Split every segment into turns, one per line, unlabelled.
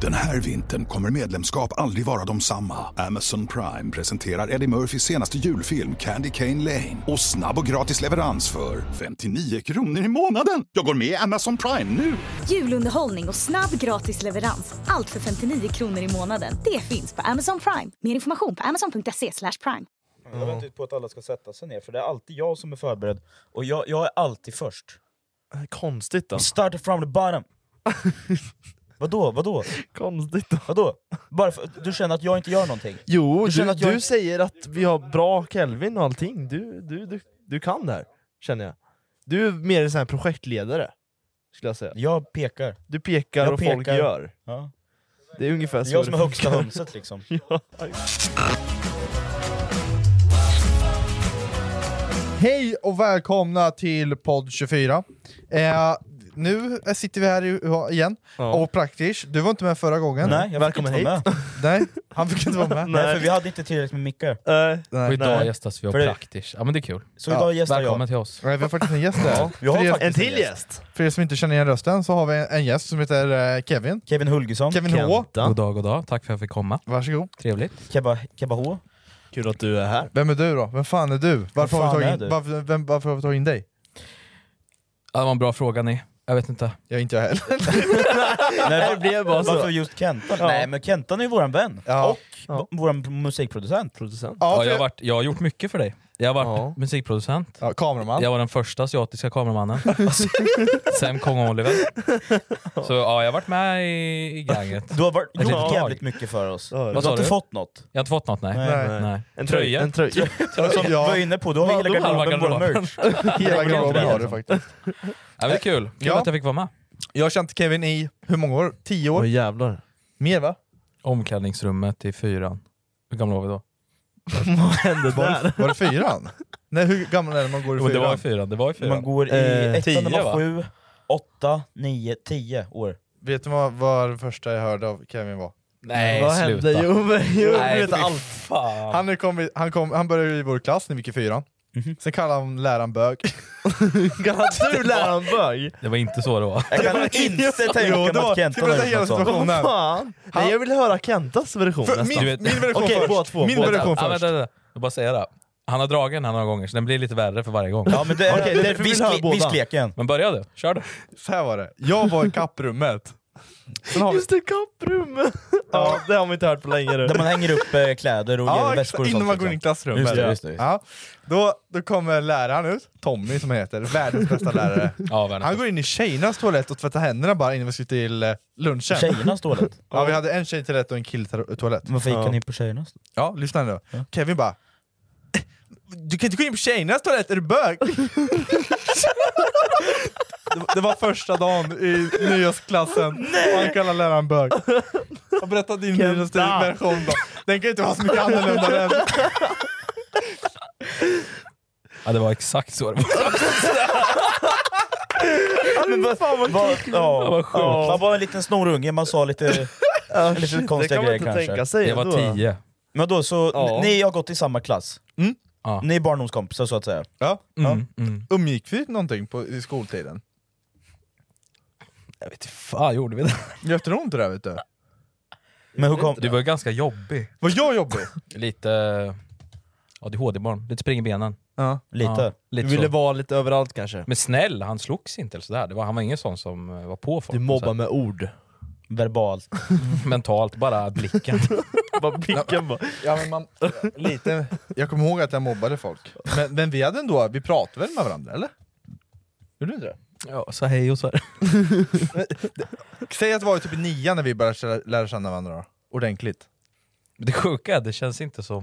Den här vintern kommer medlemskap aldrig vara de samma. Amazon Prime presenterar Eddie Murphys senaste julfilm Candy Cane Lane. Och snabb och gratis leverans för 59 kronor i månaden. Jag går med i Amazon Prime nu!
Julunderhållning och snabb gratis leverans. Allt för 59 kronor i månaden. Det finns på Amazon Prime. Mer information på amazon.se slash prime.
Jag väntar inte på att alla ska sätta sig ner, för det är alltid jag som är förberedd. Och jag, jag är alltid först.
Konstigt då.
We started from the bottom. vadå, vadå,
Konstigt då.
vadå? Bara för, du känner att jag inte gör någonting?
Jo,
Du
du,
känner
du,
att jag-
säger att vi har bra Kelvin och allting. Du, du, du, du kan det här, känner jag. Du är mer en sån här projektledare, skulle jag säga.
Jag pekar.
Du pekar
Jag
och folk
pekar.
gör.
Ja.
Det är ungefär
Det
så
är jag som är
det
högsta
funkar.
hönset liksom.
Ja.
Hej och välkomna till podd 24. Eh, nu sitter vi här i, igen,
Ja.
och Praktisch, du var inte med förra gången.
Nej, jag fick
Välkommen
inte vara med.
Nej, han fick inte vara med.
Nej, för vi hade inte tillräckligt med mickar.
Nej.
Och
Nej.
idag
Nej.
gästas vi av
För det-
Praktisch. Ja men det är kul.
Så idag gästar
Välkommen
jag.
till oss.
Nej, vi har faktiskt en gäst där.
Vi har
För er-
En
faktiskt
till gäst!
För er som inte känner igen rösten så har vi en gäst som heter eh, Kevin.
Kevin Hulgesson.
Kevin H.
Kenta.
God dag, god dag. Tack för att jag fick komma.
Varsågod.
Trevligt.
Kebba, Kebba H.
Kul att du är här.
Vem är du då? Vem fan är du? Varför,
Vem
har, vi
fan
tagit
är
in,
du?
varför, vem, varför har vi tagit in dig?
Ja, det var en bra fråga ni. Jag vet inte.
Ja, inte jag heller.
Nej,
Det blev bara
varför
så.
just Kentan? Nej men Kentan är ju våran vän.
Ja.
Och
Ja.
vår musikproducent.
Producent.
Ja,
Ja,
jag, har
för,
varit, jag har gjort mycket för dig. Jag har varit
Ja.
musikproducent.
ja, kameraman.
Jag var den första asiatiska kameramannen. Sen kom Oliver. Så ja, jag har varit med i, i ganget.
Du har varit,
Ett litet
gjort
tag.
jävligt mycket för oss.
Ja, det-
Du
Vad sa
har inte
du?
fått något.
Jag har inte fått något nej.
Nej.
Nej.
Nej. En
Tröja.
tröja.
En tröja.
Som du var
Ja,
inne på, du har
Ja,
hela
då
halva
garderoben vår
garderoben.
merch.
hela
det är
garderoben har
inte
du
det.
faktiskt.
Ja, men det är kul. Kul
Ja.
att jag fick vara med.
Jag har känt Kevin i, hur många år? Tio år?
Åh jävlar.
Mer va?
Omklädningsrummet i fyran. Hur gamla var vi då?
Vad hände
Var
där?
det, var det fyran? Nej, hur gammal är det man går i
Jo, det var i
fyran?
fyran. Det var i fyran.
Man går i
Eh,
ettan, det
tio,
var
va?
sju, åtta, nio, tio år.
Vet du vad, vad det första jag hörde av Kevin var?
Nej,
Vad
sluta.
hände? Jo, men- jo,
Nej,
du vet
fy
allt.
fan.
Han, är kom, i- han, kom, han började i vår klass när vi gick i fyran.
Mhm.
Sen kallade han läraren bög.
Kan du lära en bög?
Det var inte så det var.
Jag kan inte tänka mig
det var-
att
ska
Kenton
vi
har gjort
berätta
något
hela
sånt.
situationen?
Vad
Versionen.
fan? Nej, jag vill höra Kentas version
För
nästan.
min,
vet-
min version
Okej, båda
först.
två,
min
båda.
version
Ja, men,
först.
vänta, vänta. Jag bara säga det. Jag har dragit den här några gånger, så den blir lite värre för varje gång.
Ja, men det, okay, det,
därför
vi
vill jag ha
skle-
båda.
vi sklek igen.
Men börja du, kör du.
Så här var det. Jag var i kapprummet. Sen har vi,
Just det, kapprummet! ja, det har man inte hört på länge nu.
Där man hänger upp eh, kläder och
ja,
ger
exakt,
väskor och
innan man
sånt.
går in i
liksom.
klassrummet.
Just det, just det, just det.
Ja, då, då kommer läraren ut, Tommy som han heter, världens bästa lärare.
Ja, världens
Han går in i tjejernas toalett och tvättar händerna bara innan vi skulle till eh, lunchen.
liksom. Tjejernas toalett.
Ja, vi hade en tjejtoalett och en killtoalett.
Varför gick han in på tjejernas?
Ja, lyssna nu. Kevin bara Du kan inte gå in på tjejernas toalett, är du bög? det, var- det var första dagen i nyårsklassen och han kallar läraren bög. Jag berättade din
Kenta.
nyårsversion då. Den kan ju inte vara så mycket annorlunda än...
Ja, det var exakt så det var.
Men vad, vad, vad, ja,
vad sjukt.
ja. Man var en liten snorunge, man sa lite,
Ja,
lite
Ah, shit, det
konstiga
kan
grejer
man inte
kanske.
tänka sig
Jag var
ändå.
tio.
Men då så,
Ja.
ni har gått i samma klass.
Mm.
Ja.
Ni är barndomskompisar så att säga.
Ja.
Mm, mm.
Umgick vi någonting på, i skoltiden?
Jag vet inte fan gjorde vi det?
Jag tror inte det vet du.
Men hur kom...
Du var ju ganska jobbig.
Var jag jobbig?
Lite eh, ADHD-barn, lite spring i benen.
Ja.
Lite.
Ja,
Du
lite
ville
så.
vara lite överallt kanske.
Men snäll, han slogs inte eller sådär. Det var, han var ingen sån som eh, var på folk.
Du mobbar med ord.
Verbalt.
Så här, mentalt, bara blicken.
Bara blicken bara.
ja men man, lite. Jag kommer ihåg att jag mobbade folk. Men, men vi hade ändå, vi pratade väl med varandra eller? Gjorde du inte det?
ja, så hej och så här.
Säg att det var typ i nian när vi började lära- lära känna varandra då. Ordentligt.
Det sjuka är, det känns inte som...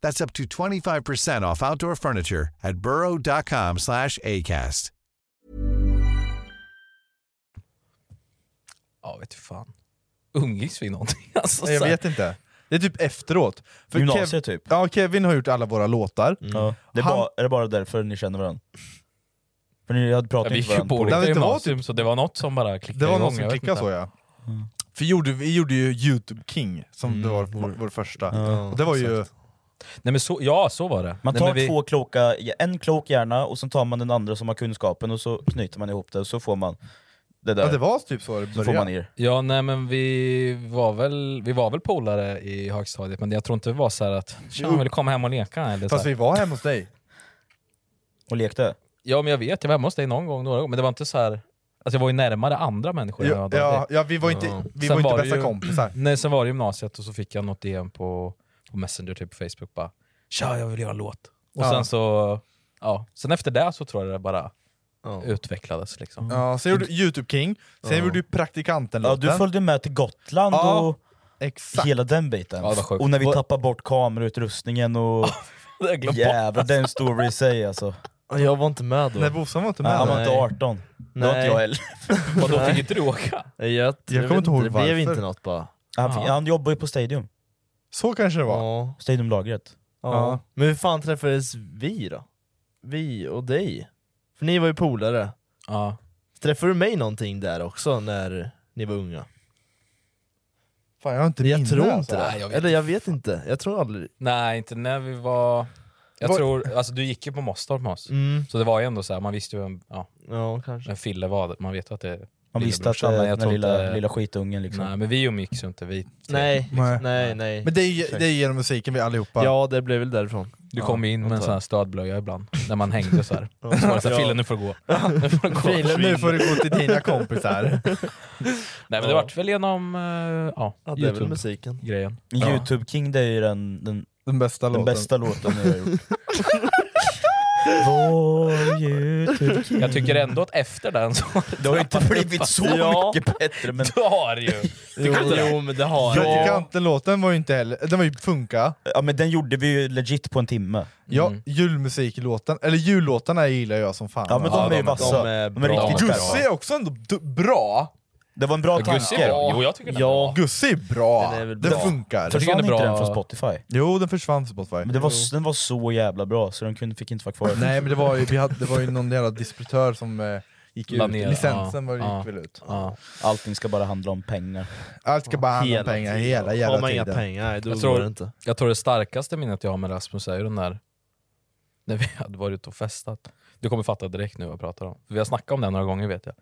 That's up to 25% off outdoor furniture at burrow.com/acast.
Ja, vet du fan. Umgicks vi någonting? Alltså,
Jag
så här-
vet inte. Det är typ efteråt. För
Gymnasiet,
Kev-
typ.
Ja, Kevin har gjort alla våra låtar.
Ja. Det är,
Han-
bara, är det bara därför ni känner varandra? För ni hade
Ja,
pratat
vi
inte
gick ju
varandra på...
på
Det
olika
var inte
gymnasium, så det var något som bara klickade
Det var
igång.
någon som
jag vet
klickade
inte. Mm.
så ja. För gjorde, vi gjorde ju Youtube King, som det var vår, vår första. och det var ju...
Nej, men så, ja, så var det.
Man
Nej,
tar
men vi-
två kloka, en klok hjärna och sen tar man den andra som har kunskapen och så knyter man ihop det och så får man det där.
Ja, det var typ så det
så får man
började.
er.
Ja, nej men vi var väl, vi var väl polare i högstadiet, men jag tror inte det var så här att “tja, vill du komma hem och leka?” eller så
Fast
här.
vi var hemma hos dig.
Och lekte.
Ja, men jag vet, jag var hemma hos dig någon gång, några gånger, men det var inte så här... Alltså jag var ju närmare andra människor än jag
Ja,
hade
ja,
dig.
ja, vi var inte, vi
Sen
var
var
inte
det
bästa
ju-
kompisar.
Nej, sen var det gymnasiet och så fick jag något DM på, på Messenger, typ på Facebook, bara “tja, jag vill göra en låt”. Och
Ja.
sen så, ja, sen efter det så tror jag det bara utvecklades liksom.
Ja, sen gjorde du Youtube King, sen gjorde du
Ja,
Praktikanten-låten.
du följde med till Gotland
Ja,
och
Exakt.
hela den biten.
Ja, det var sjukt.
och när vi
Vad-
tappade bort kamerautrustningen och...
Det har jag glömt bort.
Jävlar, den story i sig alltså.
Jag var inte med då.
Nej, Bossan var inte
Nej,
med.
han
där.
var inte 18. Det var inte
Nej.
jag heller.
Vadå, fick inte du åka?
Jag, jag,
kommer
vet
inte ihåg
Det blev
varför.
inte något bara.
Han, fick,
Ja.
han jobbar ju på Stadium.
Så kanske det var.
Ja.
Stadiumlagret.
Ja.
Ja.
Men hur fan träffades vi då? Vi och dig? För ni var ju polare.
Ja.
Träffade du mig någonting där också när ni var unga?
Fan, jag har inte
Jag
minne,
tror
alltså.
inte det.
Nej, jag vet
Eller jag vet inte. Jag tror aldrig...
Nej, inte när vi var... Jag
Var-
tror, alltså du gick ju på Mostorp med oss.
Mm.
Så det var ju ändå så här, man visste ju vem, ja,
Ja, kanske.
vem Fille var, man vet ju att det är
Man visste att det
lillebrorsan, men
är
jag
den
tror
lilla,
inte-
lilla skitungen liksom.
Nej men vi umgicks ju inte, vi tre.
Nej,
Nej.
nej, nej.
Men det är, ju- det är genom musiken vi allihopa...
Ja, det blev väl därifrån.
Du kom ju in med en
antar
sån här stödblöja ibland, när man hängde så här. Så var det så här, Fille nu får du gå. Nu får du gå.
Filen, nu får du gå till dina kompisar.
Nej men det vart väl genom, eh, ja,
Ja, det är väl
Youtube-grejen.
musiken.
Youtube King det är ju den, den,
Den bästa
den
låten.
bästa låten jag har gjort. Vår Youtube King.
Jag tycker ändå att efter den så
Det har ju inte blivit så
Ja.
mycket bättre men
du har ju!
Jo, jo, men det har jag.
Praktikanten-låten var ju inte heller... Den var ju funka.
Ja men den gjorde vi ju legit på en timme.
Ja,
Mm.
julmusiklåten, eller jullåtarna gillar jag som fan.
Ja men de
Ja,
är
de
ju
är-
vassa.
de är
De är
bra.
riktigt
Gussi
skarpa.
är också ändå d- bra!
Det var en bra
Gussi
tanke.
var, jo jag tycker den
Ja.
var.
Gussi är bra!
Den är väl
Den
bra.
funkar.
För- tycker
Försvann
den är
inte
bra.
den från Spotify?
Jo, den försvann på Spotify.
Men det var, den var så jävla bra så den kunde, fick inte vara kvar.
Nej men det var ju, vi hade, det var ju någon jävla distributör som eh, gick
La
ut,
ner,
licensen var, gick
ja,
väl ut.
Ja.
Allting ska bara handla om pengar.
Allt ska bara handla om pengar
tiden.
hela
Har
jävla
man inga
tiden.
pengar, nej, då
Jag tror-
går det inte.
Jag tror det starkaste minnet jag har med Rasmus är ju den där när vi hade varit ute och festat. Du kommer fatta direkt nu vad jag pratar om. För vi har snackat om det några gånger vet jag.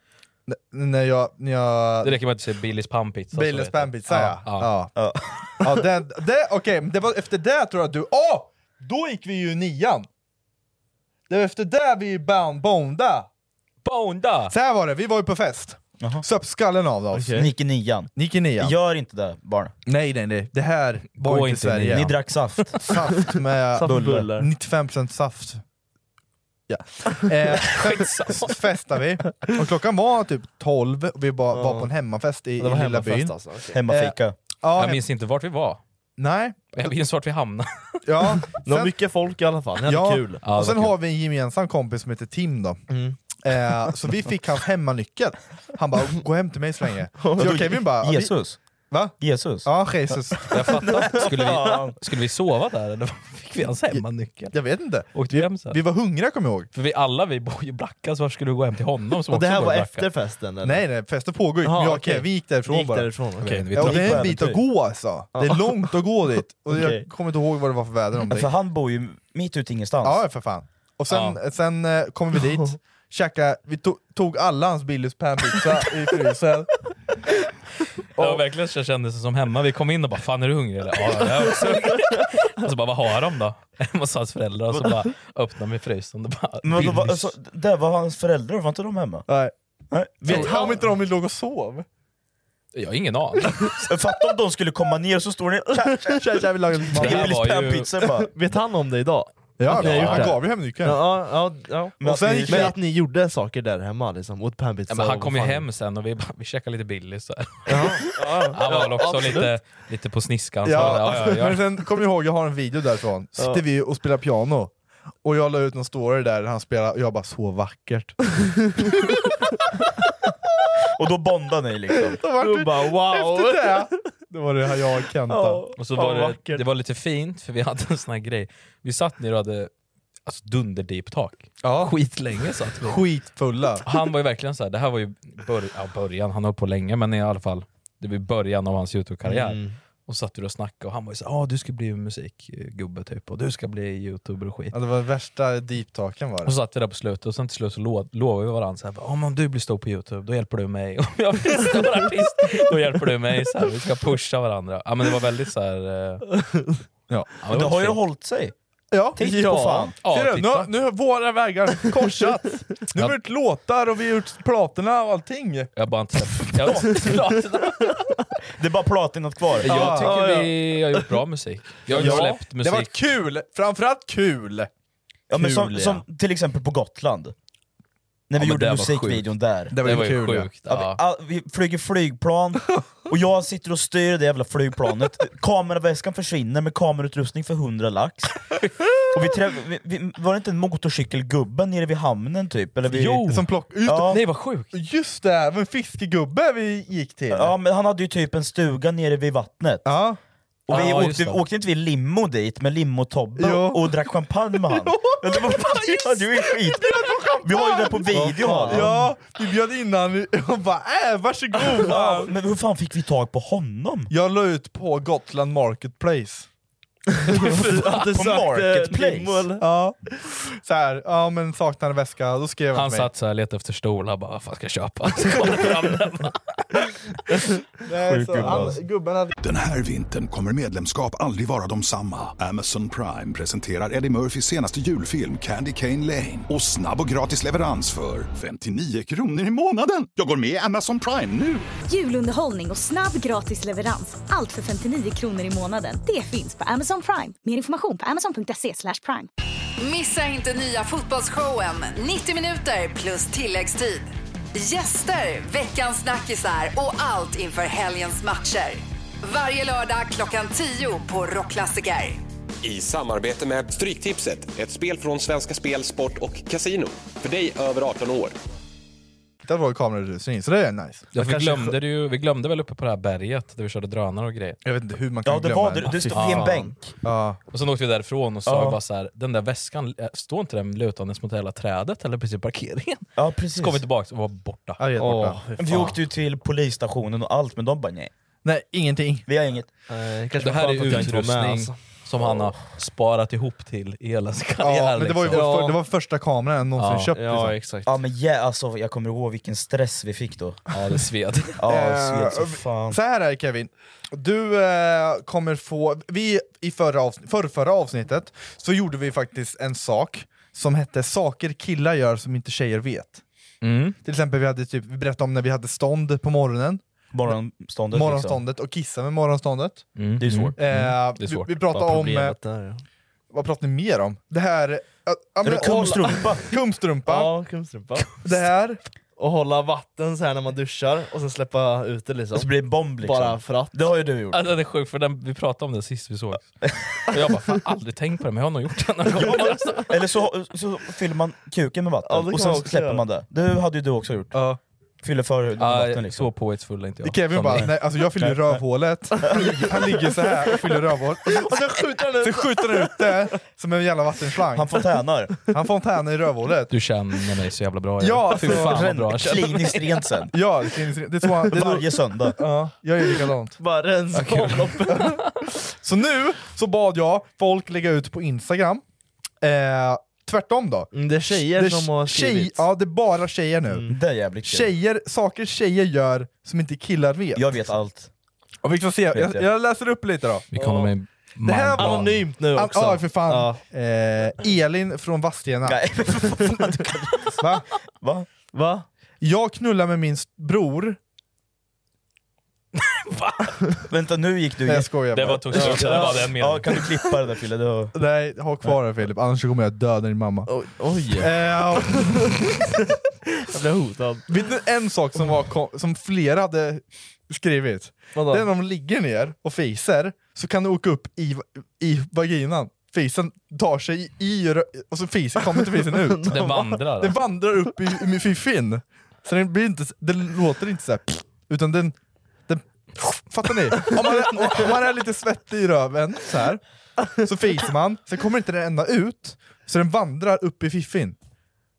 N- När jag, när jag
Det räcker med att du säger Billys pampizza. så
Billys
vet jag.
spampizza ja.
ja.
ja. ja. ja det, det, okej, men det var efter det tror jag att du... Åh! då gick vi ju i nian! Det var efter det vi bound, bonda.
Bonda!
Så här var det, vi var ju på fest.
Jaha.
Söp skallen av oss.
Ni gick i nian.
Ni gick i nian.
Gör inte det barn.
Nej nej nej, det här var
Gå
inte
inte i
Sverige.
nian.
Ni drack saft.
saft med
Saft och
bullar.
bullar.
95% saft. Ja. Eh, sen festade vi, och klockan var typ 12, och vi bara, var på en hemmafest i, i
Det var
lilla byn.
hemmafest alltså. okej.
Hemmafika.
Ja,
Jag
hem,
minns inte vart vi var.
nej,
Jag minns vart vi hamnade.
ja.
Det var
Sen-
mycket folk i alla fall, ni hade
Ja,
kul.
Ja, det
och sen
var kul.
har vi en gemensam kompis som heter Tim då. Eh, så vi fick hans hemmanyckel. Han bara 'gå hem till mig så länge' Så jag och Kevin bara "Ja, vi,
Jesus.
Va?
Jesus.
Ja, Jesus.
Jag fattar. Skulle vi,
Fan.
skulle vi sova där eller fick vi hans hemmanyckel?
Jag vet inte.
Åkte vi hem sen?
Vi var hungriga kommer jag ihåg.
För vi alla vi bor ju i Blacka, så varför skulle du gå hem till honom som
Och
också
det här
bor
var
i Blacka?
efter festen eller?
Nej, nej, festen pågår ju.
Jaha,
jag,
okej.
Vi gick därifrån
Ni gick
bara.
därifrån? Okej.
Okej, vi
Ja, och det
drar-
är en
på
bit att
äventyr.
gå alltså. Det är långt att gå dit. Och
typ. Okej.
jag kommer inte ihåg vad det var för väder om det.
För han bor ju mitt ute i ingenstans.
Ja, för fan. Och sen, sen eh, kommer vi dit, käka, vi to tog alla hans Billys panpizza i frysen.
Ja, verkligen så kändes det som hemma. Vi kom in och bara “Fan är du hungrig eller?” “Ja, jag är också hungrig”. Och så bara “Vad har de då?” Hemma hos hans föräldrar och så bara öppnar vi frysen och det bara
Men då, var,
Willys.
alltså, där var hans föräldrar, var inte de hemma?
Nej.
Nej.
Vet han om inte de låg och sov?
Jag har ingen aning.
Fatta om de skulle komma ner och så står ni
Tja, tja, vi lagade
Det
lite mat.
här
Emils
var ju-
pannpizza bara.
Vet han om det idag?
Ja,
jag gjort
han
det.
gav ju hemnyckeln.
Ja, ja, ja.
Men
Och sen
att ni-
gick
Men
vi-
att ni gjorde saker där hemma liksom, åt panpizza
Ja, men han
och
kom ju
vad fan.
hem sen och vi, bara, vi käkade lite billigt så här.
Ja, ja,
Han var väl
ja,
också
absolut.
lite, lite på sniskan. Så,
Ja,
ja, ja, ja.
Men sen kommer jag ihåg, jag har en video därifrån. Sitter vi och spelar piano, och jag la ut någon story där han spelar, och jag bara så vackert.
Och då bondade ni liksom.
Då var
Du
det,
bara wow!
efter det, då var det här jag och Kenta.
Och så
Fan,
var
vad
det,
vackert.
det var lite fint, för vi hade en sån här grej. Vi satt ner och hade alltså, dunder-deep talk.
Ja.
Skitlänge satt vi.
Skitfulla.
Han var ju verkligen så här, det här var ju bör- ja, början, han har hållit på länge, men i alla fall, det var början av hans YouTube-karriär.
Mm.
Och satt vi och snackade och han var ju såhär, ah, du ska bli musikgubbe typ, och du ska bli youtuber och skit.
Ja, det var värsta deep talken var
Och
det.
så satt vi där på slutet och sen till slut så lo- lovade vi varandra såhär, om, om du blir stor på youtube, då hjälper du mig. Om jag blir stor artist, då hjälper du mig. Så här, vi ska pusha varandra. Ja men det var väldigt såhär... Eh,
Ja.
ja,
Men det
var
har ju
fint.
hållit sig.
Ja,
Tänk på fan.
Ja,
Ser du? Nu,
titta.
nu har våra vägar korsats! Nu har vi gjort låtar och vi har gjort platorna och allting.
Jag bara inte... Jag, jag
Det är bara platinat kvar.
tycker vi har gjort bra musik. Jag har ju släppt
Det
musik.
har varit kul! Framförallt kul!
Ja, men
Kul,
som,
ja.
som till exempel på Gotland. När vi
men
gjorde
det var
musikvideon där.
det var ju sjukt.
Ja,
Ja.
vi, all, vi flyger flygplan, och jag sitter och styr det jävla flygplanet. Kameraväskan försvinner med kamerautrustning för 100 lax. Och vi träff, vi, vi, var det inte en motorcykelgubbe nere vid hamnen typ? Eller vi,
Jo!
Som plock, ut,
Ja.
Nej vad sjukt!
Just det, det var en fiskegubbe vi gick till.
Ja, men han hade ju typ en stuga nere vid vattnet.
Ja.
Och vi
Ja, just
åkte,
det.
åkte inte vi limo dit med limotobbe
Jo.
och drack champagne med han? Ja, det var ja, det var ju skit. Vi har ju det på video. har vi.
Ja, vi bjöd in han och bara äh, varsågod!
Ja, men hur fan fick vi tag på honom?
Jag la ut på Gotland Marketplace.
hade
På
sökt, eh,
Marketplace.
limo eller?
Ja. Så här, ja men saknar en väska, då skrev han
Han
till mig.
satt såhär och letade efter stolar, bara vad fan ska jag köpa? Så kollade han fram den.
Nej, så, han, gubben hade
Den här vintern kommer medlemskap aldrig vara de samma. Amazon Prime presenterar Eddie Murphys senaste julfilm Candy Cane Lane. Och snabb och gratis leverans för 59 kronor i månaden. Jag går med i Amazon Prime nu!
Julunderhållning och snabb gratis leverans. Allt för 59 kronor i månaden. Det finns på Amazon Prime. Mer information på amazon.se slash prime.
Missa inte nya fotbollsshowen 90 minuter plus tilläggstid. Gäster, veckans snackisar och allt inför helgens matcher. Varje lördag klockan 10 på Rockklassiker.
I samarbete med Stryktipset, ett spel från Svenska Spel, Sport och Casino. För dig över 18 år.
hittat vår kamerautrustning, så det är nice.
Ja, vi, glömde det ju, vi glömde väl uppe på det här berget där vi körde drönare och grejer.
Jag vet inte hur man kan
Ja det
glömma
var det,
Ah,
den.
du stod vid en bänk.
Ja.
Och sen åkte vi därifrån och sa
Ja.
bara så här, den där väskan, eh, står inte den lutandes mot hela trädet eller precis i parkeringen?
Ja precis.
Så kom vi tillbaka och var borta.
Ja, helt
Åh,
borta.
fy fan.
Vi åkte ju till polisstationen och allt, men de bara nej,
Nej, ingenting.
vi har inget.
Eh, kanske
det här
var
är
skönt att jag inte var med,
utrustning
alltså.
som han har sparat ihop till i hela sin karriär.
Ja, men det var ju
liksom.
vår, för, det var första kameran jag någonsin
Ja.
köpt.
Ja
liksom.
exakt.
Ja men yeah, alltså, jag kommer ihåg vilken stress vi fick då.
ja, det sved.
Ja,
Eh,
det sved så fan.
Så här är det Kevin, du eh, kommer få... Vi, i förra avsnitt, förra, förra avsnittet så gjorde vi faktiskt en sak som hette saker killar gör som inte tjejer vet.
Mm.
Till exempel vi hade typ, vi berättade om när vi hade stånd på morgonen,
Morgonståndet liksom.
morgonståndet och kissa med morgonståndet.
Mm.
Det är svårt.
Eh,
det är
vi,
svårt.
vi pratade
Vad
om... Eh,
problemet där, ja.
vad pratade vi mer om? Det här... eh, ja,
Är det
men-
kumstrumpa?
Kumstrumpa.
Ja, kumstrumpa.
Det här.
Och hålla vatten så här när man duschar och sen släppa ut det liksom.
Och så blir det bomb liksom.
Bara för att.
Det har ju du gjort.
Ja, den är sjuk, för den, vi pratade om den sist vi såg. Och jag bara, fan aldrig tänkt på det, men jag har nog gjort det någon gång.
Eller så, så fyller man kuken med vatten
Ja, det kan
och sen
man också
släpper
göra.
man det. Det hade ju du också gjort.
Ja.
fyller förhuden med vatten
Nej,
liksom.
så påhetsfull är inte jag.
Det Kevin
Som
bara,
ni.
nej alltså jag fyller ju rövhålet, han ligger, han ligger så här och fyller rövhålet, och så,
Och sen skjuter han
så
ut!
skjuter han ut det som en jävla vattenslang.
Han fontänar.
Han fontäner i rövhålet.
Du känner mig så jävla bra.
Ja,
Fy
alltså,
fan vad bra jag
Ren,
känner mig.
kliniskt rent sen.
Ja, det finns- det är så han- det är så-
Varje söndag.
Ja, jag gör likadant.
Alltså, Bara rensa
kul.
avloppet.
Så nu så bad jag folk lägga ut på Instagram, eh, tvärtom då.
Mm, Det är tjejer
Det är
som har
tjej,
skrivit.
ja, det är bara tjejer nu.
Det är jävligt kul.
Tjejer, saker tjejer gör som inte killar vet.
Jag vet allt.
Och vi får se, jag,
jag.
jag läser upp lite då.
Vi kommer med
Det här
manbarn.
var-
Anonymt nu
An-
också.
Ja, för fan. Eh, Elin från Vadstena.
Nej, men vad fan, du kan-
Va?
Va?
Va?
Jag knullar med min st- bror.
Vänta, nu gick du
Nej,
igen.
jag skojar
Det
bara.
var toxic, det var den
Ja,
meningen.
kan du klippa det där Fille? Det var...
Nej, ha kvar den Filip, annars kommer jag döda din mamma.
Oj, oj.
Eh,
jag blev hotad.
vet ni en sak som, var, kom- som flera hade skrivit?
Vadå?
Det är när de ligger ner och fiser, så kan du åka upp i, i vaginan. Fisen tar sig i, i rö- och så fisen kommer inte fisen ut.
Den vandrar.
Den vandrar upp i, i fiffin. Så den, blir inte, den låter inte så här, utan den... den fattar ni? Om man, är, om man är lite svettig i röven så här, så fiser man, sen kommer inte den ända ut, så den vandrar upp i fiffin.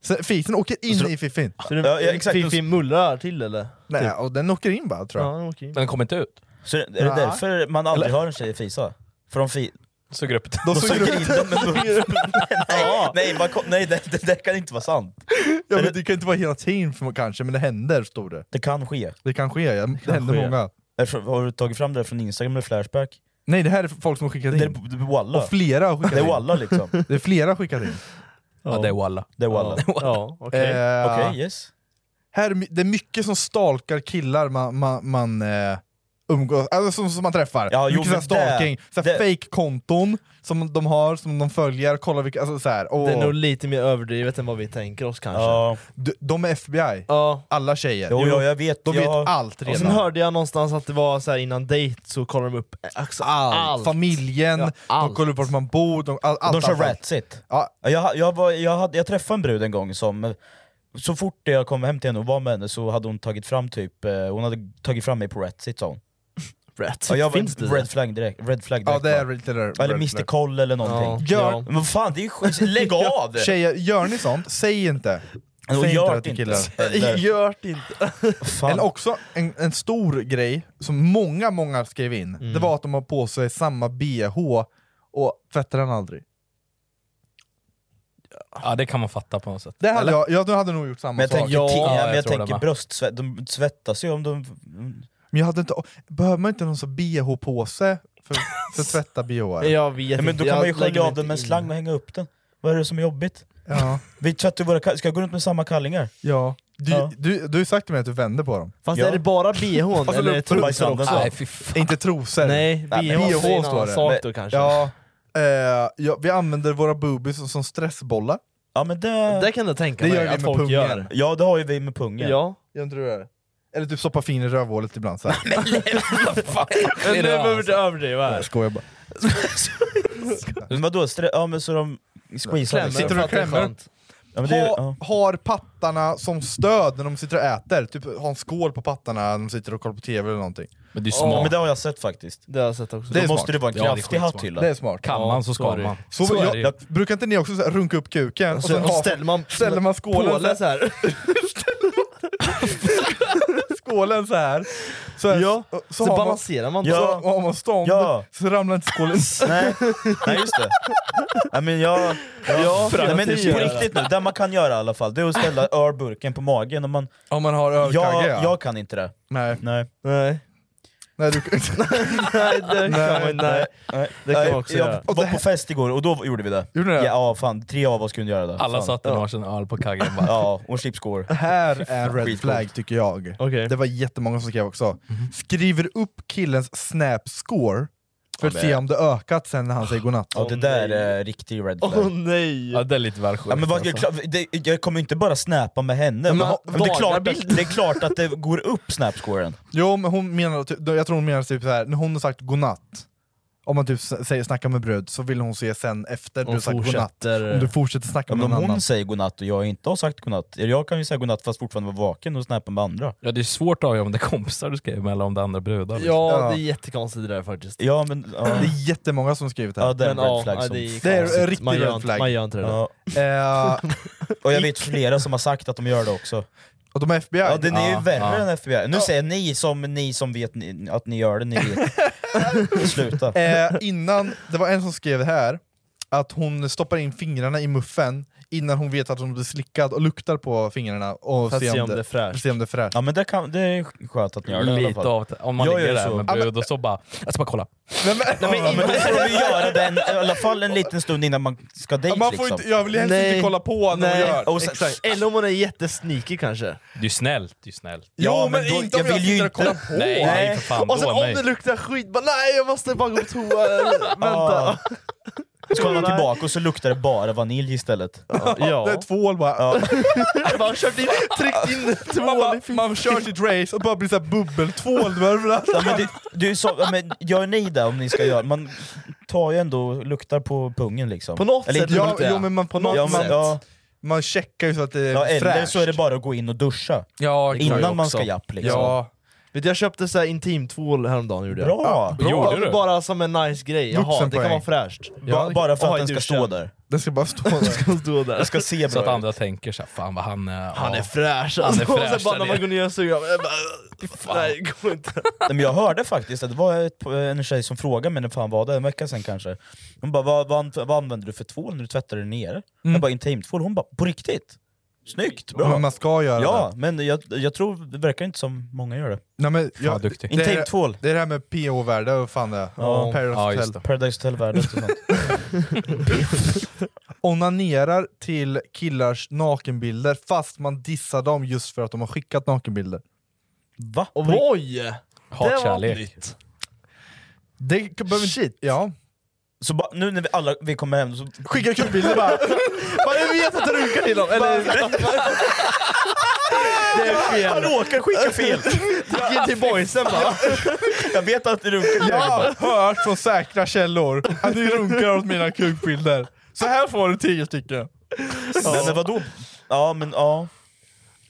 Så fisen åker in
Alltså,
i fiffin.
Så du,
Ja, ja, exakt.
Fiffi mullrar till eller?
Nej, och den åker in bara tror jag.
Ja, okej.
Den kommer inte ut.
Så är det därför man aldrig hör en tjej fisa? För de, fi...
Suger upp det.
Då
de
såg
suger
jag,
in den med munnen. nej, nej, man kom... nej det, det, det kan inte vara sant.
ja, men det kan inte vara hela tiden för, kanske, men det händer stod det.
Det kan ske.
Det kan ske, ja. det händer
ske.
många.
Därför, har du tagit fram det där från Instagram eller Flashback?
Nej, det här är folk som har skickat
Det är,
in.
det är walla.
Och flera har
Det är
skickat in.
walla liksom.
Det är flera har skickat in.
Ja, det är walla.
Det är walla.
Ja, okej.
Eh,
Okej, yes.
här, är my- det är mycket som stalkar killar man, man, man eh, umgås, alltså som, som man träffar.
Ja, jo,
mycket såhär
men det-
stalking, så här fake-konton som de har, som de följer, kollar vilka, alltså så här, och
Det är nog lite mer överdrivet än vad vi tänker oss kanske.
Ja,
de, de är FBI,
Ja.
alla tjejer.
jo, jo, jag vet.
de
jag...
vet allt
Och sen
redan.
hörde jag någonstans att det var så här innan dejt så kollar de upp alltså, allt.
Familjen,
Ja, allt.
de kollar upp vart man bor, de, all, allt.
De kör
allt, allt.
ratsit.
alltså. Ja.
Jag, jag, var, jag, hade, jag träffade en brud en gång som, så fort jag kom hem till henne och var med henne så hade hon tagit fram typ, eh, hon hade tagit fram mig på ratsit sa hon.
Rätt.
Ja, jag var
Finns det?
red flag direkt. Red flag direkt
Ja, det är
bara.
lite där.
Eller Mr Koll eller någonting.
Gör-
ja.
Men vad fan, det är ju skit. Lägg av!
Tjejer, gör ni sånt, säg inte.
Och
Säg
gör
inte det till
inte.
killar.
Eller-
Gör det inte.
Fan.
Eller också, en, en stor grej som många, många skrev in,
Mm.
det var att de har på sig samma bh och tvättar den aldrig.
Ja, det kan man fatta på något sätt.
Det hade jag, jag hade nog gjort samma
Men jag
sak.
tänker,
Ja,
ti- ja,
jag
men jag
tror det
tänker
med.
bröstsvett, de svettas ju om de...
Men jag hade inte, behöver man inte någon sån bh-påse för, för att tvätta bh? Ja.
Jag vet
Ja, men då
inte.
kan
jag
man ju
lägger
skölja
mig
av den med en
inte in.
slang och hänga upp den. Vad är det som är jobbigt?
Ja.
Vi tvättar ju våra kallingar, ska jag gå runt med samma kallingar?
Du,
Ja.
Du, du har ju sagt till mig att du vände på dem.
Fast
Ja.
är det bara bhn
Alltså,
eller är det trosor
bajsanden.
också?
Nej,
fy fan.
Inte trosor.
Nej,
men
bh,
BH
är en
står
annan
det.
sak
Men-
då kanske.
Ja, eh, ja, vi använder våra boobies som, som stressbollar.
Ja men det...
Det kan jag tänka
Det
mig
gör vi
att
med
folk
pungen.
gör.
Ja det har ju vi med pungen.
Ja.
Jag inte det Eller typ stoppa fingret i rövhålet ibland. Så här.
Men nu behöver
alltså.
du inte överdriva här.
Jag skojar bara.
Men vadå, stre- ja men så de squeezar
Klämmer
liksom.
Sitter du och
för att det är
klämmer?
skönt.
Ja, men det,
ha,
ja.
har pattarna som stöd när de sitter och äter, typ ha en skål på pattarna när de sitter och kollar på TV eller någonting.
Men det är
ja,
smart.
men det har jag sett faktiskt.
Det har jag sett också.
Då
är
måste
smart.
det vara en
Ja, det är
kraftig alltså.
skitsmart.
hatthylla.
Det är smart.
Kan man så ska
sorry.
man.
Så,
är
jag,
det ju.
jag, brukar inte ni också så här, runka upp kuken och
Och
sen
sen
ha,
ställer man,
ställer man skålen
pålen
så
så här.
skålen så här. Så, här,
Ja,
så, så,
Så
har man,
balanserar man.
Ja.
Ja.
så har man stånd,
Ja.
så ramlar inte skålen
Nej, nej just det. Ja, men jag, ja, nej, men
framtiden.
på riktigt nu, det man kan göra i alla fall, det är att ställa ölburken på magen. Och man,
Om man har
jag,
överkage
jag kan inte det.
Nej,
Nej.
Nej.
nej du,
nej, det kan man nej.
nej.
Det kan
Nej,
man också
jag
göra.
var på fest igår och då gjorde vi det.
Gjorde ni det?
Ja, fan, tre av oss kunde göra det.
Alla
fan.
satt en varsin öl på kaggen bara.
Ja, och en slipscore.
här är red
skitcoolt.
flag tycker jag.
Okej.
Det var jättemånga som skrev också.
Mhm.
Skriver upp killens snap score för att se om det ökat sen när han säger godnatt.
Ja, det där är riktig red flag.
Åh nej!
Ja, det är lite väl sjukt.
Ja, men vad, jag, det, jag kommer ju inte bara snäpa med henne, men,
Men
men det, är klart att,
dagarbild.
det är klart att det går upp snapscoren.
Jo men hon menar, typ- jag tror hon menar typ så här, när hon har sagt godnatt, om man typ s- säger snacka med bröd så vill hon se sen efter du
Hon
har sagt godnatt.
fortsätter-
Om du fortsätter snacka
Men
med
om
någon
hon
annan.
säger godnatt och jag inte har sagt godnatt, eller jag kan ju säga godnatt fast fortfarande vara vaken och snappa med andra.
Ja, det är svårt att avgöra om det är kompisar du skriver med eller om det är andra brudar. liksom.
Ja,
Ja.
det är jättekonstigt det där faktiskt.
Ja men... Ja,
Det är jättemånga som skrivit det
ja
här.
det är en
Men,
red flag
ja,
som...
det är
Det är en
konstigt.
riktig
Man gör
red
inte-
flag.
Man gör inte det. där.
Ja.
Eh,
Och jag vet flera som har sagt att de gör det också.
och de är FBI.
Ja, den är ju
Ja,
värre
ja.
än FBI. Nu säger ni som, ni som vet ni, att ni gör det, ni vet. Sluta.
Eh, innan, det var en som skrev här, att hon stoppar in fingrarna i muffen innan hon vet att hon blir slickad och luktar på fingrarna och
För att
ser
se om det är fräscht.
Se om det är fräscht.
Ja men det, kan, det är skönt att ni gör det i alla
Lite
fall.
av om man
Jag
ligger
gör
där
så.
med
Ja, men-
brud och så bara, jag ska bara kolla.
Nej, men,
Ja, men då får de ju göra den i alla fall en liten stund innan man ska dit
man får
liksom.
inte, jag vill helst inte
Nej.
kolla på när hon
Nej.
gör.
Och sen-
Exakt.
Eller om hon är jättesneaky kanske.
Det är ju snällt, det är ju snällt.
Jo,
Ja,
men,
men då-
inte om
jag
jag,
vill ju
sitter och
inte-
kollar på.
Nej, nej för fan.
Och sen
då,
Alltså, om
nej.
det luktar skit, bara nej jag måste bara gå på toa, vänta.
Och så kollar man tillbaka och så luktar det bara vanilj istället.
Det
Ja.
är tvål bara.
Jag bara kört in, tryckt in
Man,
tvål i
bara,
fickan.
man kör sitt race och bara blir såhär bubbeltvål överallt.
Ja, men det, det är ju så, ja, men gör ni det om ni ska göra Man tar ju ändå och luktar på pungen liksom.
På något
Eller
sätt
inte-
Ja,
luktar jag.
jo, men man, på något
ja,
sätt.
men, ja,
Man checkar ju så att det är
ja, eller
fräscht.
så är det bara att gå in och duscha
Ja,
innan man ska japp liksom.
ja.
Vet du, jag köpte så här intimtvål häromdagen gjorde jag.
Bra!
Bara,
Gjorde du?
bara som en nice grej, jaha det
Vuxenpoäng.
kan vara fräscht.
Ba, bara för
Ja,
att
i
den ska
duschen.
stå där.
Den ska bara stå där.
Ska stå där.
Den ska se
Så att
bra ut.
andra tänker såhär, fan vad han är...
Han är
ja.
fräsch
Han är
alltså.
fräsch,
och sen
han
bara när
är-
man går ner och suger, jag bara, "Fy fan." nej det går inte.
Nej, men jag hörde faktiskt att det var ett, en tjej som frågade mig, när fan var det, en vecka sedan kanske. Hon bara, vad, vad, anv- vad använder du för tvål när du tvättar dig ner? Jag bara, intimtvål. Hon bara, på riktigt? Snyggt, bra.
Men man ska göra
ja,
det.
men jag, jag tror, det verkar inte som många gör det.
Nej, men,
Fan,
jag,
duktig.
Det är-
Intimtvål.
Det är det här med PO-värde och fan det
Ja.
och Paradise
Ja, just
Hotel.
det.
Paradise typ Hotel-världen och sånt.
Onanerar till killars nakenbilder fast man dissar dem just för att de har skickat nakenbilder.
Va?
Oj!
Hatkärlek.
nytt.
Det k- behöver Shit. Ja.
Så ba, nu när vi alla vi kommer hem så...
Skickar kukbilder bara.
Bara jag vet att du runkar till dem! Eller, det är fel.
råkar skicka fel!
Gick in till boysen bara.
jag vet att du runkar
ja, hört från säkra källor att ni runkar åt mina kukbilder. Så här får du tio stycken.
ja. Men vadå? Ja, men ja.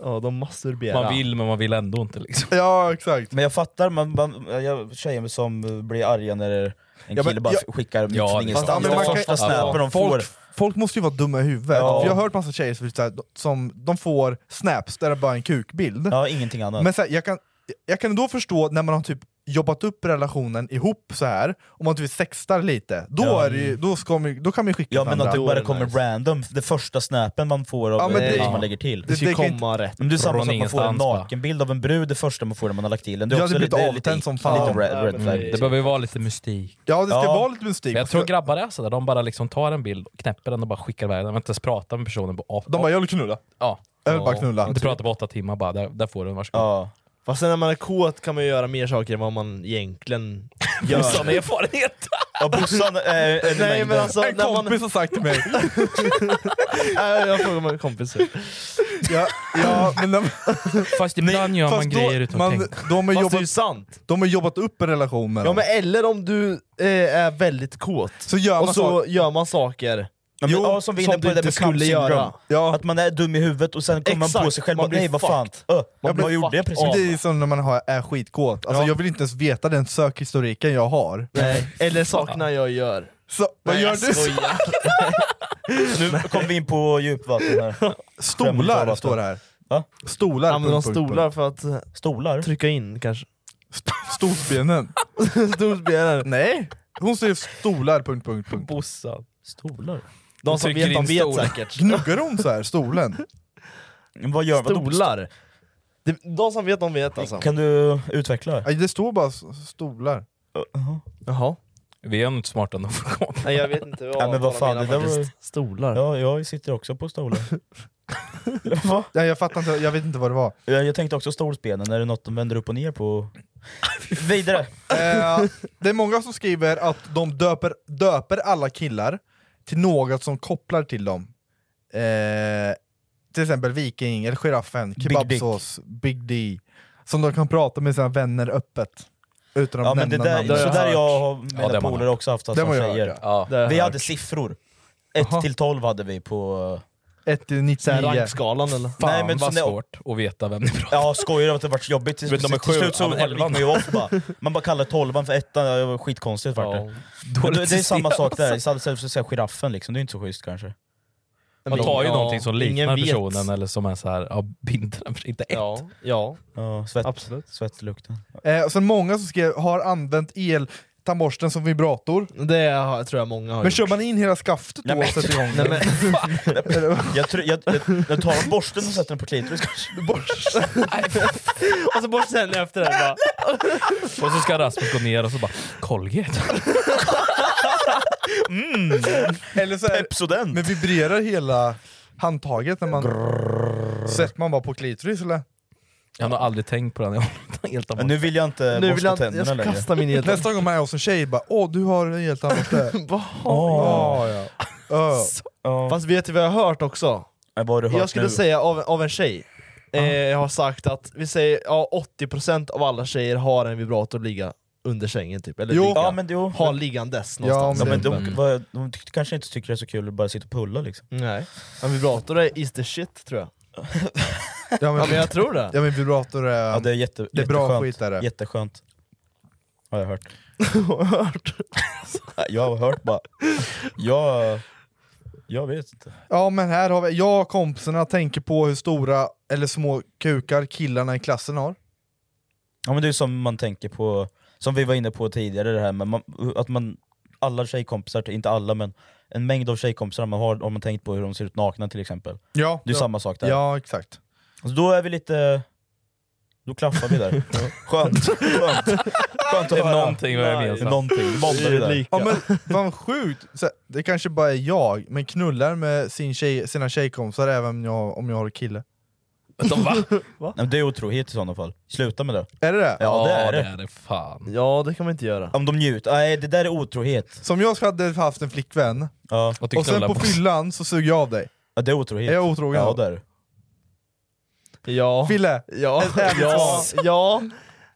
Ja, de masturberar.
Man vill men man vill ändå inte liksom.
Ja, exakt.
Men jag fattar, man, man, jag, tjejer som eh, blir arga när en
Ja, men
kille bara
jag-
f- skickar mitt
Ja,
från
det-
Ja,
ingenstans.
men
det
man kan-
första snappen de får.
Folk, folk måste ju vara dumma i huvudet.
Ja.
För jag har hört massa tjejer som, typ så här, som de får snaps där det bara är en kukbild.
Ja, ingenting annat.
Men så här, jag, kan, jag kan då förstå när man har typ jobbat upp relationen ihop så här om man typ sextar lite, då,
Ja.
är det ju, då, ska man, ju- då kan man ju skicka
ja,
till
men att
andra.
det bara
det
kommer
nice.
random, det första snappen man får av
Ja,
ja,
men
det,
det-
som
ja.
man lägger till.
Det-
Det
det
ska
kan
ju
inte-
komma rätt.
Men det är samma
Från
sak, man får en
ingenstans, va?
nakenbild av en brud det första man får när man har lagt till den. Det är
Ja,
också
det blir
lite,
lite
lite,
avtänt som
lite
fan.
red, red flag.
Det behöver ju vara lite mystik.
Ja det ska
Ja.
vara lite mystik.
Men jag tror grabbar är sådär, de bara liksom tar en bild, knäpper den och bara skickar iväg den. De har inte ens pratat med personen på åtta...
De bara 'jag vill knulla'
ja.
jag vill bara knulla.
Inte pratat på åtta timmar bara, där, där får du den, varsågod.
Ja.
Fast sen när man är kåt kan man ju göra mer saker än vad man egentligen gör.
Sån erfarenhet!
ja, Bossan eh, är
Nej men alltså,
En
när man,
kompis har sagt till mig,
Nej, jag frågar med kompisar.
ja, ja, men när,
Fast ibland gör man
fast då,
grejer utan att
man,
tänka.
de, har
Fast det är
jobbat,
ju sant.
de har jobbat upp en relation med
Ja
dem.
men eller om du eh, är väldigt kåt,
Så gör man
och så
så,
gör man saker
Ja, men,
Jo,
ja, som vi är
som
inne på
du
det där
inte
med skulle
skulle göra.
göra.
Ja.
Att man är dum i huvudet och sen kommer man på
Exakt,
sig själv
man
bara,
blir
nej vad fan, öh,
Man
vad
blir
gjorde jag
fucked
precis?
av.
det är som när man har, är skitkåt, alltså,
Ja.
jag vill inte ens veta den sökhistoriken jag har.
Nej. eller saknar jag gör.
Så, vad
Nej,
gör
jag
du?
skojar.
Nu kom vi in på djupvatten här.
Stolar står det här.
Va?
Stolar.
Använder de
punkt, punkt, punkt.
stolar för att eh,
Stolar?
trycka in kanske?
St- Storbenen.
Storspelare.
Nej! Hon säger stolar, punkt, punkt, punkt.
Bossan.
Stolar?
De som
Trycker
vet, de
in
vet
stolar.
säkert.
Gnuggar hon så här stolen?
Men Vad gör man?
Stolar. De, de som vet, de vet alltså.
Kan du utveckla det?
Nej, Det står bara s- stolar.
Jaha.
Vi är nog inte smarta nog för att komma.
Nej jag vet inte vad,
Nej, men vad fan,
de
det där var-
faktiskt. Stolar.
Ja, jag sitter också på stolar. Va?
Nej, jag fattar inte, jag vet inte vad det var.
Jag jag tänkte också stolsbenen, är det något de vänder upp och ner på? Vidare!
Eh, det är många som skriver att de döper, döper alla killar till något som kopplar till dem. Eh, till exempel viking, eller giraffen,
Dick.
kebabsås, Big D. Som de kan prata med sina vänner öppet. Utan att
Ja, men
nämna
det där,
namn.
Det har
så
jag
där
hört.
jag och mina
Ja, det har man
polare också haft
Det
som
har jag
tjejer.
hört,
Ja.
Det har jag
Vi
hört.
hade siffror. 1 till 12 hade vi på...
1 till
Så här
99.
rankskalan eller?
Fan
Nej, men
vad
så när-
svårt att veta vem ni pratar
Ja, skojar du att det vart jobbigt? Till,
vet, de är
till
sju,
slut så
ja, men
gick
elvan.
man ju off bara. Man bara kallade tolvan för ettan, ja, det var skitkonstigt vart det.
om.
Men det, det är samma sak där, istället för att säga giraffen liksom, det är inte så schysst kanske.
Man tar ju
Ja,
någonting som
ingen
liknar
vet.
personen eller som är så här, ja, binder den för inte ett.
Ja, ja.
Ja, svett,
Absolut.
Svettlukten.
Eh, och sen många som skrev har använt eltandborsten som vibrator.
Det har, tror jag många har
Men
gjort.
kör man in hela skaftet då
Nej, men-
och sätter igång
Nej,
den?
men,
Jag, tror- jag, jag, jag tar en borsten och sätter den på klitoris kanske.
och så bort sen efter det här bara.
Och så ska Rasmus gå ner och så bara Colgate.
Eller så är,
Pepsodent!
men vibrerar hela handtaget när man... Sätter man bara på klitoris eller?
Jag har nog aldrig tänkt på den. Jag har helt
Men nu vill jag inte
Nu vill
borsta
jag, inte- jag
tänderna
ska
längre.
kasta min eltand.
Nästa gång man är hos en tjej bara åh du har en eltandborste.
Åh.
oh, ja. Ö.
Ja.
Fast vet du vad jag har hört också?
Nej, Vad har du hört
Jag skulle
nu?
säga av, av en tjej. Eh, jag har sagt att vi säger ja, 80% av alla tjejer har en vibrator ligga under sängen typ. Eller
Jo.
ligga.
Ja men jo.
har liggandes
Ja,
någonstans.
Ja,
men
men de,
Mm.
vad- de ty- kanske inte tycker det är så kul att bara sitta och pulla liksom.
Nej. En vibrator är is the shit tror jag.
Ja,
Ja men
men,
jag tror det.
ja men vibrator är...
Ja, det är, jätte,
det är bra
jätteskönt.
skit är det.
Jätteskönt. Har jag hört. jag har hört bara. Jag, jag vet inte.
Ja men här har vi, jag och kompisarna tänker på hur stora eller små kukar killarna i klassen har.
Ja, men det är som man tänker på, som vi var inne på tidigare, det här med man, att man, alla tjejkompisar, inte alla men en mängd av tjejkompisar man har, om man tänkt på hur de ser ut nakna till exempel.
Ja,
Det är
ja.
samma sak där.
ja exakt.
Alltså, då är vi lite... Då klaffar vi där. Skönt. Skönt, Skönt att
Det är
höra.
någonting alltså. vi har gemensamt.
Någonting. Då bombade vi där.
Ja, men, fan vad sjukt, så, här, det kanske bara är jag, men knullar med sin tjej, sina tjejkompisar även om jag, om jag har kille.
De, va?
Nej, men Det är otrohet i sådana fall. Sluta med det.
Är det det?
Ja, det är det.
är det. Fan.
Ja det kan man inte göra.
Om de njuter. Nej, det där är otrohet.
Som jag hade haft en flickvän,
Ja,
Att du
och sen
knullar
på
på-
fyllan så suger jag av dig.
ja det är otrohet.
Är jag otrogen?
Ja,
Ja,
det är det.
Ja.
Fille,
Ja. Ja. ja.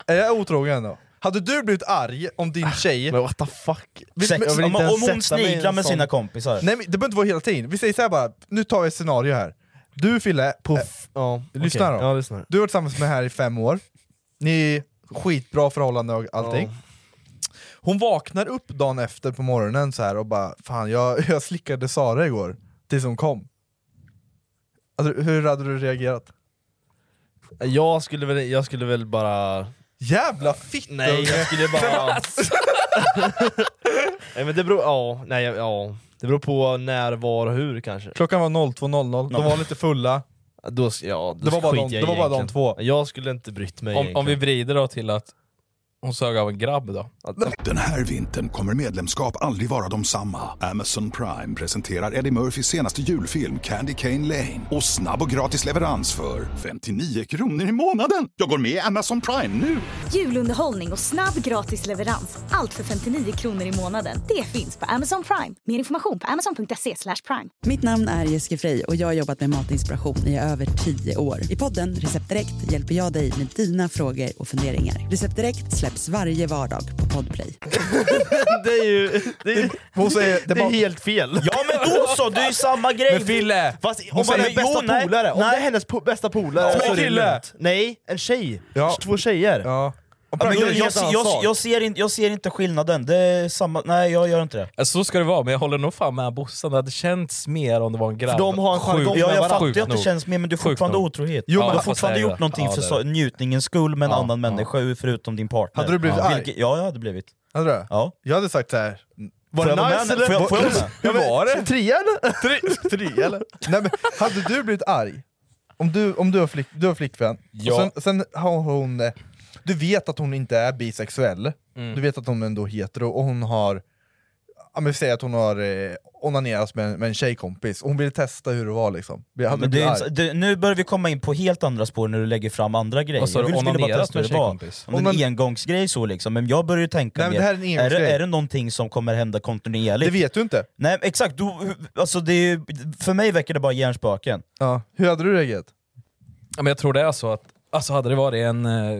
är jag otrogen då? Hade du blivit arg om din tjej...
Men what the fuck.
Sex.
Jag vill
Om,
inte ens
om hon
sätta mig i en
sniglar med
sån-
sina kompisar.
Nej men det behöver inte vara hela tiden, vi säger så här bara, nu tar vi ett scenario här. Du Fille, eh,
Ja,
Lyssna
okej.
då.
Ja, lyssna.
Du har varit tillsammans med här i fem år, ni är skitbra förhållande och allting. Hon vaknar upp dagen efter på morgonen så här och bara Fan jag, jag slickade Sara igår, tills hon kom. Alltså, hur hade du reagerat?
Jag skulle väl, jag skulle väl bara...
Jävla Alltså, fitta!
Nej jag skulle bara... nej men det beror, ja, nej, ja. Det beror på när, var och hur kanske.
Klockan var 02.00, de var lite fulla,
Då, s- ja, då
det var bara,
skiter
de,
jag
det var
i
bara de
egentligen.
två.
Jag skulle inte brytt mig
Om, om vi vrider då till att hon sög av en grabb då.
Den här vintern kommer medlemskap aldrig vara de samma. Amazon Prime presenterar Eddie Murphys senaste julfilm Candy Cane Lane. Och snabb och gratis leverans för 59 kronor i månaden. Jag går med i Amazon Prime nu!
Julunderhållning och snabb gratis leverans. Allt för 59 kronor i månaden. Det finns på Amazon Prime. Mer information på amazon.se slash prime.
Mitt namn är Jessica Frey och jag har jobbat med matinspiration i över 10 år. I podden Recept Direkt hjälper jag dig med dina frågor och funderingar. Recept Direkt släpps varje vardag på Podplay.
Det är ju... Det är,
Hon säger, det,
det är
var,
helt fel.
Ja men då så, det är ju samma grej!
Men Fille! Fast om man
säger-
är bästa
Jo, nej.
polare, om det
Nej.
är hennes po- bästa polare
Ja.
så är det
Kille.
lugnt. Nej, en tjej!
Ja.
Två tjejer!
ja. Och
Ja, men
Prime-
jag,
det är en
jag,
helt annan
jag, jag,
sak.
ser inte, jag ser inte skillnaden. Det är samma, nej jag gör inte det.
Alltså, så ska det vara, men jag håller nog fan med Bossan. Det hade känts mer om det var en grabb.
För de har en jargong
Sjukt-
Ja,
med
jag
varandra.
fattar
Sjukt
ju att det
nog.
känns mer, men du är
Sjukt
fortfarande
nog.
otrohet.
Jo, men
du har
jag får
fortfarande
säga
gjort
det.
någonting
Ja,
för
det är
så, njutningens skull med en
Ja,
annan
ja.
människa ju förutom din partner.
Hade du blivit
ja.
arg?
Vilket- ja, jag hade blivit.
Hade du?
Ja.
Jag hade sagt så här.
Var
det nice eller-
Får jag, får jag, vara med?
Var- Hur var det?
Trea eller?
Tre eller? Nej, men, hade du blivit arg? Om du, om du, har, flick, du har flickvän,
Ja.
och sen, sen har hon... eh, Du vet att hon inte är bisexuell,
Mm.
du vet att hon ändå är hetero, och hon har... Ja, men vi säger att hon har eh, onanerats med, en- med en tjejkompis, och hon ville testa hur det var liksom. Hade du
Men det
blivit
är,
arg?
inte- det, nu börjar vi komma in på helt andra spår när du lägger fram andra grejer.
Vad sa du?
skulle bara
Onanerat
testa hur
med
det var.
tjejkompis?
Om det är en
Onan-
engångsgrej så liksom, men jag börjar ju tänka
Nej,
mer,
men det här är en
är, det,
engångsgrej.
är det någonting som kommer hända kontinuerligt?
Det vet du inte.
Nej exakt, du, alltså det är, ju- för mig väcker det bara hjärnspöken.
Ja. Hur hade du reagerat?
Ja, men jag tror det är så att, alltså hade det varit en, eh,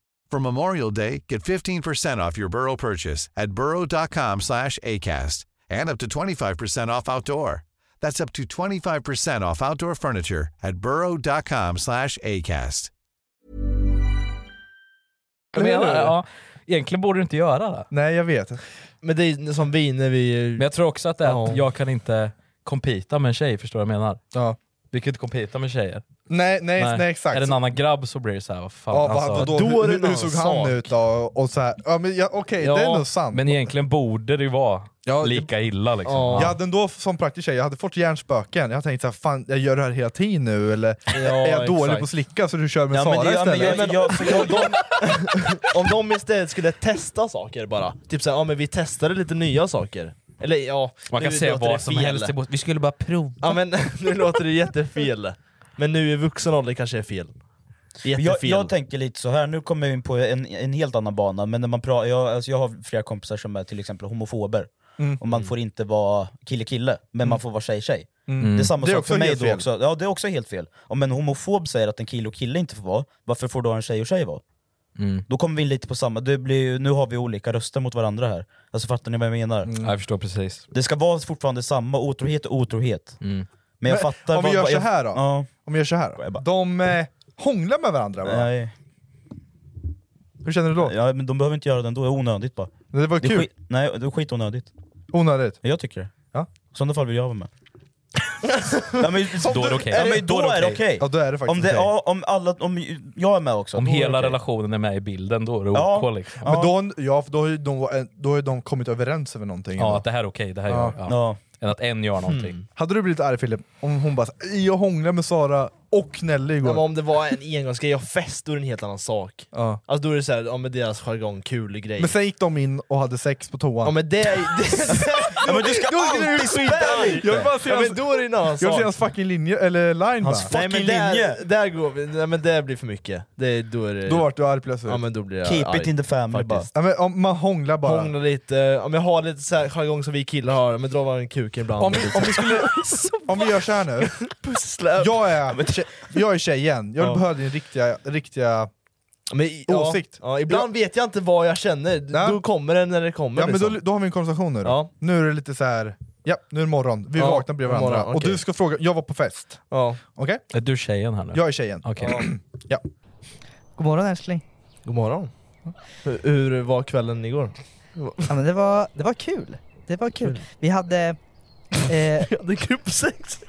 For Memorial Day, get 15% off your Burrow purchase at burrow.com/acast and up to 25% off outdoor. That's up to 25% off outdoor furniture at burrow.com/acast.
Jag menar, ja, egentligen borde du inte göra det.
Nej jag vet. Men det är som vi när vi... Men
jag tror också att det är att jag kan inte compita med en tjej, förstår du vad jag menar?
Ja.
Du kan inte compita med tjejer.
Nej, nej, nej, exakt.
Är det en annan grabb så blir det så här, vad fan
Ja,
alltså.
vad, då, hur, hur såg han ut då? Och så här. Ja, men ja, okej, det är nog sant.
Men egentligen borde det ju vara
Ja, det-
lika illa liksom.
Jag hade ändå som praktisk tjej, jag hade fått hjärnspöken. Jag tänkte såhär, fan jag gör det här hela tiden nu, eller är jag dålig
exakt.
på att slicka så du kör med
Ja, men
Sara
det- ja, men
istället?
jag- jag- för jag- Om de istället skulle testa saker bara, typ såhär, ja men vi testade lite nya saker. Eller ja,
Man
nu
kan säga
låter
vad
det
som
fel.
helst, det borde- vi skulle bara prova.
Ja men nu låter det jättefel. Men nu i vuxen ålder kanske är fel.
Men
Jättefel.
Jag, jag tänker lite så här. nu kommer vi in på en, en helt annan bana, men när man pratar, jag, alltså jag har flera kompisar som är till exempel homofober,
Mm.
och man får inte vara kille-kille, men man får vara tjej-tjej.
Mm.
Det är samma
Det är
sak
också
för mig
helt
då
fel.
också. Ja, det är också helt fel. Om en homofob säger att en kille och kille inte får vara, varför får då en tjej och tjej vara?
Mm.
Då kommer vi in lite på samma, det blir, ju- nu har vi olika röster mot varandra här. Alltså fattar ni vad jag menar?
Mm.
Ja, Jag förstår precis.
Det ska vara fortfarande samma, otrohet och otrohet. Men jag fattar...
Mm. Om
vad-
vi gör
vad-
så
jag-
här då?
Ja.
Om vi gör så här då? De eh, hånglar med varandra va?
Nej.
Hur känner du då?
Ja, men de behöver inte göra det ändå, det är onödigt bara.
Det var kul.
är skit, nej, det är skitonödigt.
Onödigt?
Jag tycker det.
Ja.
I sådana fall vill jag vara med. ja, men,
Då är det okej.
Ja, men då är det okej.
Ja, då är det faktiskt
om, det,
okej.
ja, om, alla, om jag är med också.
Om
då är det
hela
okej.
relationen är med i bilden, då är det
Ja.
OK liksom.
Men då, ja, för då har ju de, då har ju de kommit överens över någonting.
Ja,
ändå.
att det här är okej, det här
Ja.
gör jag.
Ja.
Än att en gör någonting.
Hade du blivit arg Filip om hon bara så här, jag hånglade med Sara och Nelly
Ja,
igår?
men om det var en engångsgrej och fest, då är det en helt annan sak.
Ja.
Alltså då är det såhär, ja men deras jargong, kul grej.
Men sen gick de in och hade sex på toan.
Ja men det är...
ja, men du ska
alltid spä lite! Jag vill bara se
ja,
hans-
men då är det en annan
Jag vill se
sak.
hans fucking linje, eller line
Hans
bara.
Nej, men
fucking linje!
där, där går vi, nej men det blir för mycket. Det, då är det...
Då vart du arg plötsligt.
ja men då blir jag
Keep
arg.
it in the family bara.
Faktiskt.
Ja, men om man hånglar bara.
Hångla lite, om jag har lite så här jargong som vi killar har, men drar varandra i kuken ibland.
Om, vi- om, vi skulle, om vi gör så här nu.
pusslar.
Jag är, tje- jag är tjejen, jag
Ja.
vill behöva din riktiga, riktiga...
Men, i- ja,
Åsikt.
Ja, ibland vet jag inte vad jag känner,
Nej.
då kommer det när det kommer.
Ja, men då,
liksom.
då har vi en konversation nu då.
Ja.
Nu är det lite så här. ja nu är det morgon, vi
Ja,
vaknar bredvid varandra.
morgon,
Och
okej.
du ska fråga, jag var på fest.
ja.
Okej?
Är du tjejen här nu?
Jag är tjejen.
Okej.
God morgon älskling.
God morgon. Hur, hur var kvällen igår?
Ja, men det, var, det var kul. Det var kul. Vi hade... Eh,
Vi hade gruppsex.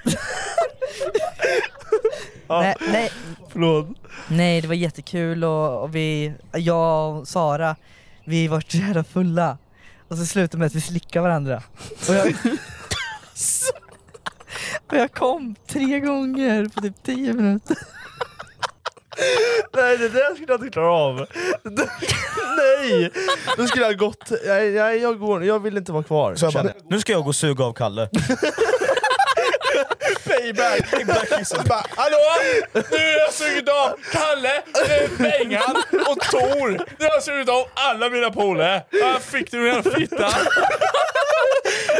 nej, nej,
Förlåt.
nej, det var jättekul och, och vi, jag och Sara, vi var så jävla fulla. Och så slutade det med att vi slickade varandra. Och jag, och jag kom tre gånger på typ tio minuter.
Nej det där skulle jag inte klara av. Nej! Då skulle jag gått. Nej, nej jag, går, jag vill inte vara kvar.
Så jag bara,
Känner-
nu ska jag gå och suga av Kalle.
Payback!
Bara, Hallå!
Nu har jag sugit av Kalle, eh, Bengan och Tor. Nu har jag sugit av alla mina polare. Här fick du den här fittan.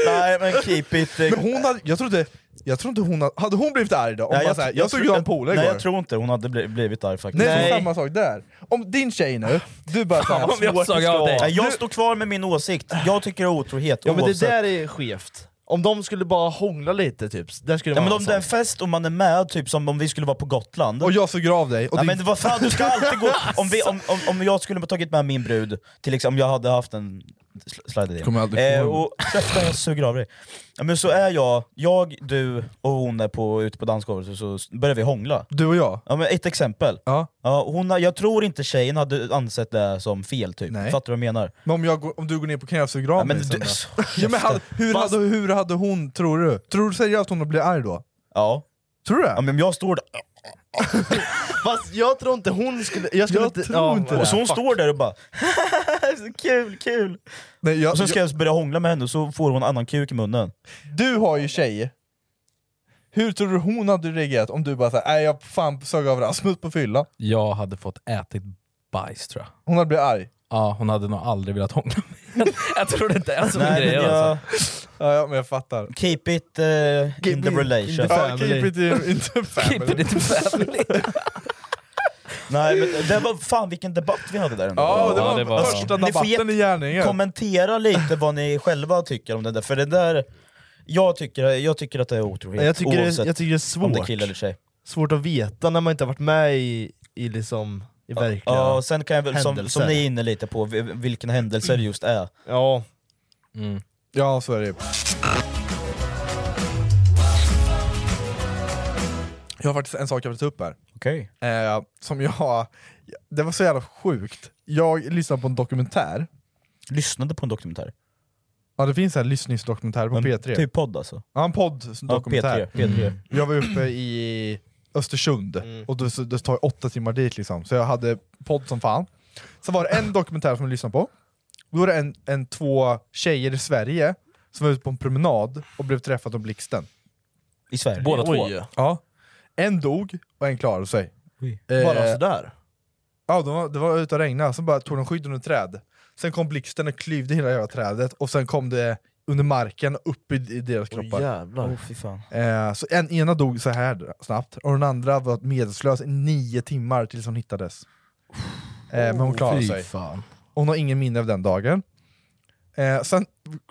nej men keep it... eh,
Men hon hade, jag trodde, jag trodde inte hon hade, hade hon blivit arg då? Om
nej,
jag, bara, så här, jag, såg ju
tror-
en polare
Nej
igår.
jag tror inte hon hade bli- blivit arg faktiskt.
Nej,
Nej.
det är
Nej.
samma sak där. Om din tjej nu, du bara så här,
Om jag såg av dig.
Nej, jag står kvar med min åsikt, jag tycker det är otrohet
Ja men det
oavsett.
där är skevt. Om de skulle bara hångla lite typ, där skulle det
Ja, men
vara
om
en
det är en
sak.
fest och man är med, typ som om vi skulle vara på Gotland.
och jag suger av dig. Och
Ja,
din,
men vad fan, du ska alltid gå... Om, vi, om, om, om jag skulle ha tagit med min brud, till exempel, om jag hade haft en sl- slidade in.
Kommer aldrig få
eh,
den.
och Träffa jag suger av dig. Ja, men så är jag, jag, du och hon är på, ute på dansgolvet och så s- börjar vi hångla.
Du och jag?
Ja, men ett exempel.
Ja.
hon, har- jag tror inte tjejen hade ansett det som fel typ,
Nej.
fattar du vad jag menar?
Men om, jag, går- om du går ner på knä och suger av
Ja, men
mig
du-
sen
så-
då? ja, men hade, hur, hade, hur hade hon, tror du? Tror du seriöst hon blir arg då?
Ja.
Tror du det? Ja,
men jag står där.
Fast jag tror inte hon skulle... Jag, skulle inte,
tror inte
Och
det.
så hon
Fuck.
står där och bara Kul, kul!
Nej, jag,
och sen ska jag, börja hångla med henne och så får hon annan kuk i munnen.
Du har ju tjej. Hur tror du hon hade reagerat om du bara såhär, nej jag fan sög av Rasmus på fylla?
Jag hade fått ätit bajs tror jag.
Hon hade blivit arg?
Ja, hon hade nog aldrig velat hångla med Jag tror det inte är en sån
Nej,
grej
men jag-
alltså.
Ja, ja men jag fattar.
Keep it eh, in the relation.
Ja, keep it in, in the family.
Keep it in the family. Nej men det var fan vilken debatt vi hade där ändå.
Ja, det var första
Ni får
debatten i
jätte-
gärningen.
kommentera lite vad ni själva tycker om det där, för det där... Jag tycker, jag tycker att det är otrohet,
Jag tycker, det,
oavsett
jag tycker det är
om
svårt.
det är kille eller tjej.
Svårt att veta när man inte har varit med i, i, liksom, i verkliga
Ja, och sen kan jag väl, som, som
händelser.
ni är inne lite på, vi- vilken händelse det just är.
Ja.
Mm.
Ja, så är det Jag har faktiskt en sak jag vill ta upp här.
Okej.
Eh, som jag... Det var så jävla sjukt. Jag lyssnade på en dokumentär.
Lyssnade på en dokumentär?
Ja, det finns en lyssningsdokumentär på
En
P3.
typ podd alltså?
Ja, en podd. Dokumentär.
Ja, P3, P3.
Jag var uppe i Östersund, och det, det tar ju åtta timmar dit liksom. Så jag hade podd som fan. Så var det en dokumentär som jag lyssnade på. Då var det en, en två tjejer i Sverige som var ute på en promenad och blev träffade av blixten.
I Sverige?
Båda två? Oj.
Ja. En dog och en klarade sig. Eh,
Bara sådär?
Ja, de var, det var ute och regnade, så bara tog de skydd under ett träd. Sen kom blixten och klyvde hela jävla trädet, och sen kom det under marken och upp i, i deras kroppar.
jävlar.
Åh, fy fan.
Eh, så en, ena dog så här snabbt, och den andra var medvetslös i nio timmar tills hon hittades. Eh, men hon klarade
Fy
sig.
fan.
Hon har ingen minne av den dagen. Eh, sen,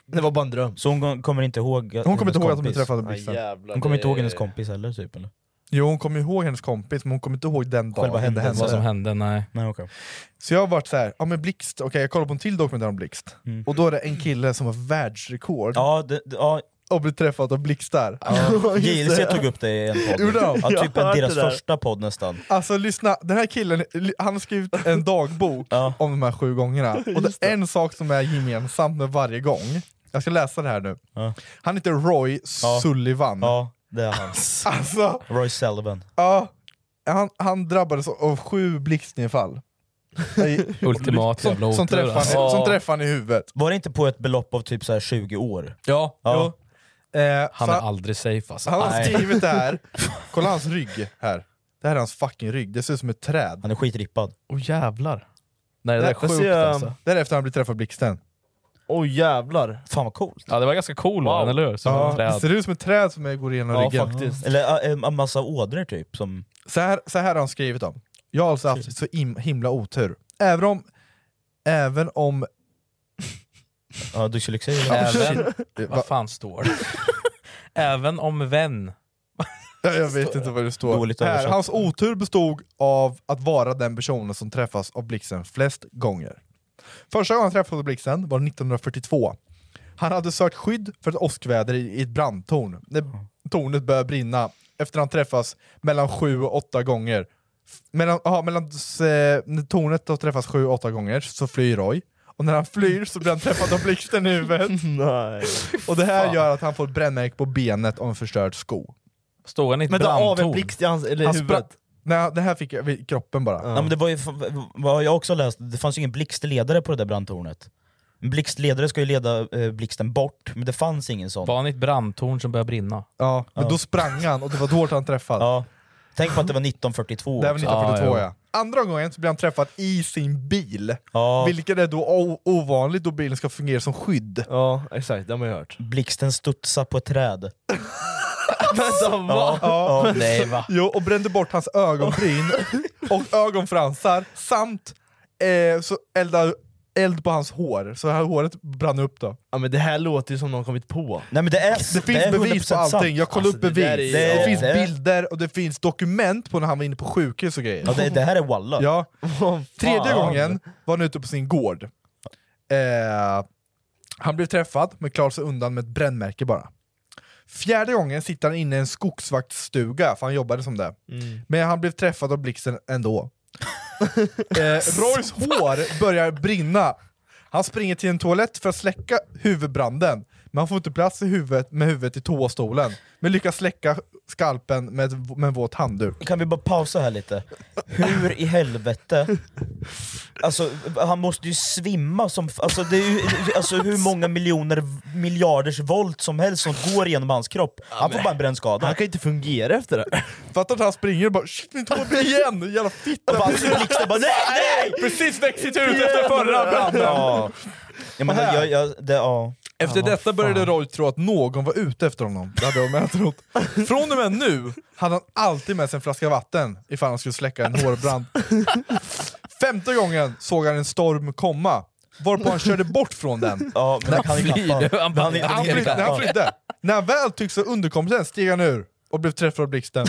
det var bara en dröm.
Så hon kommer inte ihåg
Hon kommer
hennes
inte ihåg att hon
kompis?
träffade
Ah,
blixten.
Hon kommer inte ihåg hennes kompis heller typ eller?
Jo, hon kommer ihåg hennes kompis, men hon kommer inte ihåg den dagen
Själva händelsen.
det
Vad som hände, nej.
nej okay.
Så jag har varit så här, ja men blixt, okej jag kollar på en till dokumentär om blixt,
Mm.
och då är det en kille som har världsrekord
Ja, det, ja.
och blir träffad av blixtar.
Ja,
Just
JLC
det.
tog upp det i en podd.
Gjorde de?
Ja,
Jag
typ en
hörde
deras
det där.
första podd nästan.
Alltså lyssna, den här killen li- han har skrivit en dagbok om de här sju gångerna, och det är en sak som är gemensam med varje gång. Jag ska läsa det här nu. Han heter Roy Sullivan.
Ja, det är han.
Alltså.
Roy Sullivan.
Ja, han, han drabbades av sju blixtnedfall.
Ultimat jävla
som, som,
otur,
träffade,
alltså.
som träffade han i huvudet.
Var det inte på ett belopp av typ så här 20 år?
Ja.
Ja.
Han är aldrig safe alltså.
Eh, Han har
Nej.
skrivit det här, kolla hans rygg här. Det här är hans fucking rygg, det ser ut som ett träd.
Han är skitrippad.
Åh oh, jävlar.
Nej, det där är sjukt, alltså.
Därefter han blir träffad av blixten.
Oj jävlar.
Fan vad coolt.
Ja, det var ganska cool var den, eller hur? Som
Ja,
en träd.
det ser ut som ett träd som går igenom
Ja,
ryggen.
faktiskt.
Eller ä, en massa ådror typ som...
Så här, så här har han skrivit om. Jag har alltså haft så im- himla otur. Även om... Även om... eh,
Ja, dyslexi
Även...
shit.
Vad fan står det? Även om vän.
Ja, jag vet inte vad det står. Här, hans otur bestod av att vara den personen som träffas av blixten flest gånger. Första gången han träffades av blixten var 1942. Han hade sökt skydd för ett åskväder i i ett brandtorn. När tornet började brinna efter han träffas mellan sju och åtta gånger. F- Mellan, aha, mellan, s- eh, när tornet då träffas sju och åtta gånger så flyr Roy. Och när han flyr så blir han träffad av blixten i huvudet.
Nej.
Och det här gör att han får ett brännmärke på benet och en förstörd sko.
Står han i ett
Men då av en
brandtorn?
blixt i hans, eller
Han
huvudet?
spratt- Nej, det här fick jag vid kroppen bara.
Nej, men det var ju, f- vad jag också läst, det fanns ju ingen blixtledare på det där brandtornet. En blixtledare ska ju leda eh, blixten bort, men det fanns ingen sån.
Var han i ett brandtorn som började brinna?
Ja, men
Ja.
då sprang han och det var då han träffade.
Ja. Tänk på att det var 1942
Det här var
också.
1942 ja. Andra gången så blir han träffad i sin bil,
Ja.
vilket är då o- ovanligt då bilen ska fungera som skydd.
Ja, exakt. Det har man ju hört.
Blixten studsar på ett träd.
Vänta, va?
Ja.
Ja, nej va?
Jo, och brände bort hans ögonbryn och ögonfransar samt eh, så eldade eld på hans hår, så här håret brann upp då.
Ja, men det här låter ju som någon kommit på.
Nej men det är
Det finns
är
bevis på
100% sant.
allting, jag kollade
Alltså,
upp
det
bevis.
där
Det,
är ju- Ja.
finns
Det-
bilder och det finns dokument på när han var inne på sjukhus och grejer.
Ja, det, det här är walla.
Ja.
Vad fan?
Tredje gången var han ute på sin gård. Eh, Han blev träffad, men klarade sig undan med ett brännmärke bara. Fjärde gången sitter han inne i en skogsvaktstuga, för han jobbade som det.
Mm.
Men han blev träffad av blixten ändå. eh, Roys hår börjar brinna. Han springer till en toalett för att släcka huvudbranden, men han får inte plats i huvudet med huvudet i toastolen, men lyckas släcka skalpen med, ett- med en våt handduk.
Kan vi bara pausa här lite? Hur i helvete... Alltså, han måste ju svimma som... f- Alltså, det är ju, alltså hur många miljoner, miljarders volt som helst som går genom hans kropp. Han får bara en brännskada. Han
kan inte fungera efter det.
Fattar att han springer och bara “shit, min tå igen, jävla fitta!”
Bara, alltså, blixten bara “nej, nej!”
Precis växit ut efter förra branden!
Ja. Ja, men, jag, jag, det, ja.
Efter
Ja, vad
detta började
fan.
Roy tro att någon var ute efter honom. Det hade jag med trott. Från och med nu hade han alltid med sig en flaska vatten ifall han skulle släcka en hårbrand. Femte gången såg han en storm komma, varpå han körde bort från den.
Ja, men han kan ju
flydde.
kappa.
Han,
Han- han- han-
flydde,
kappa.
han flydde. När han väl tycks ha underkompetens steg han ur och blev träffad av blixten.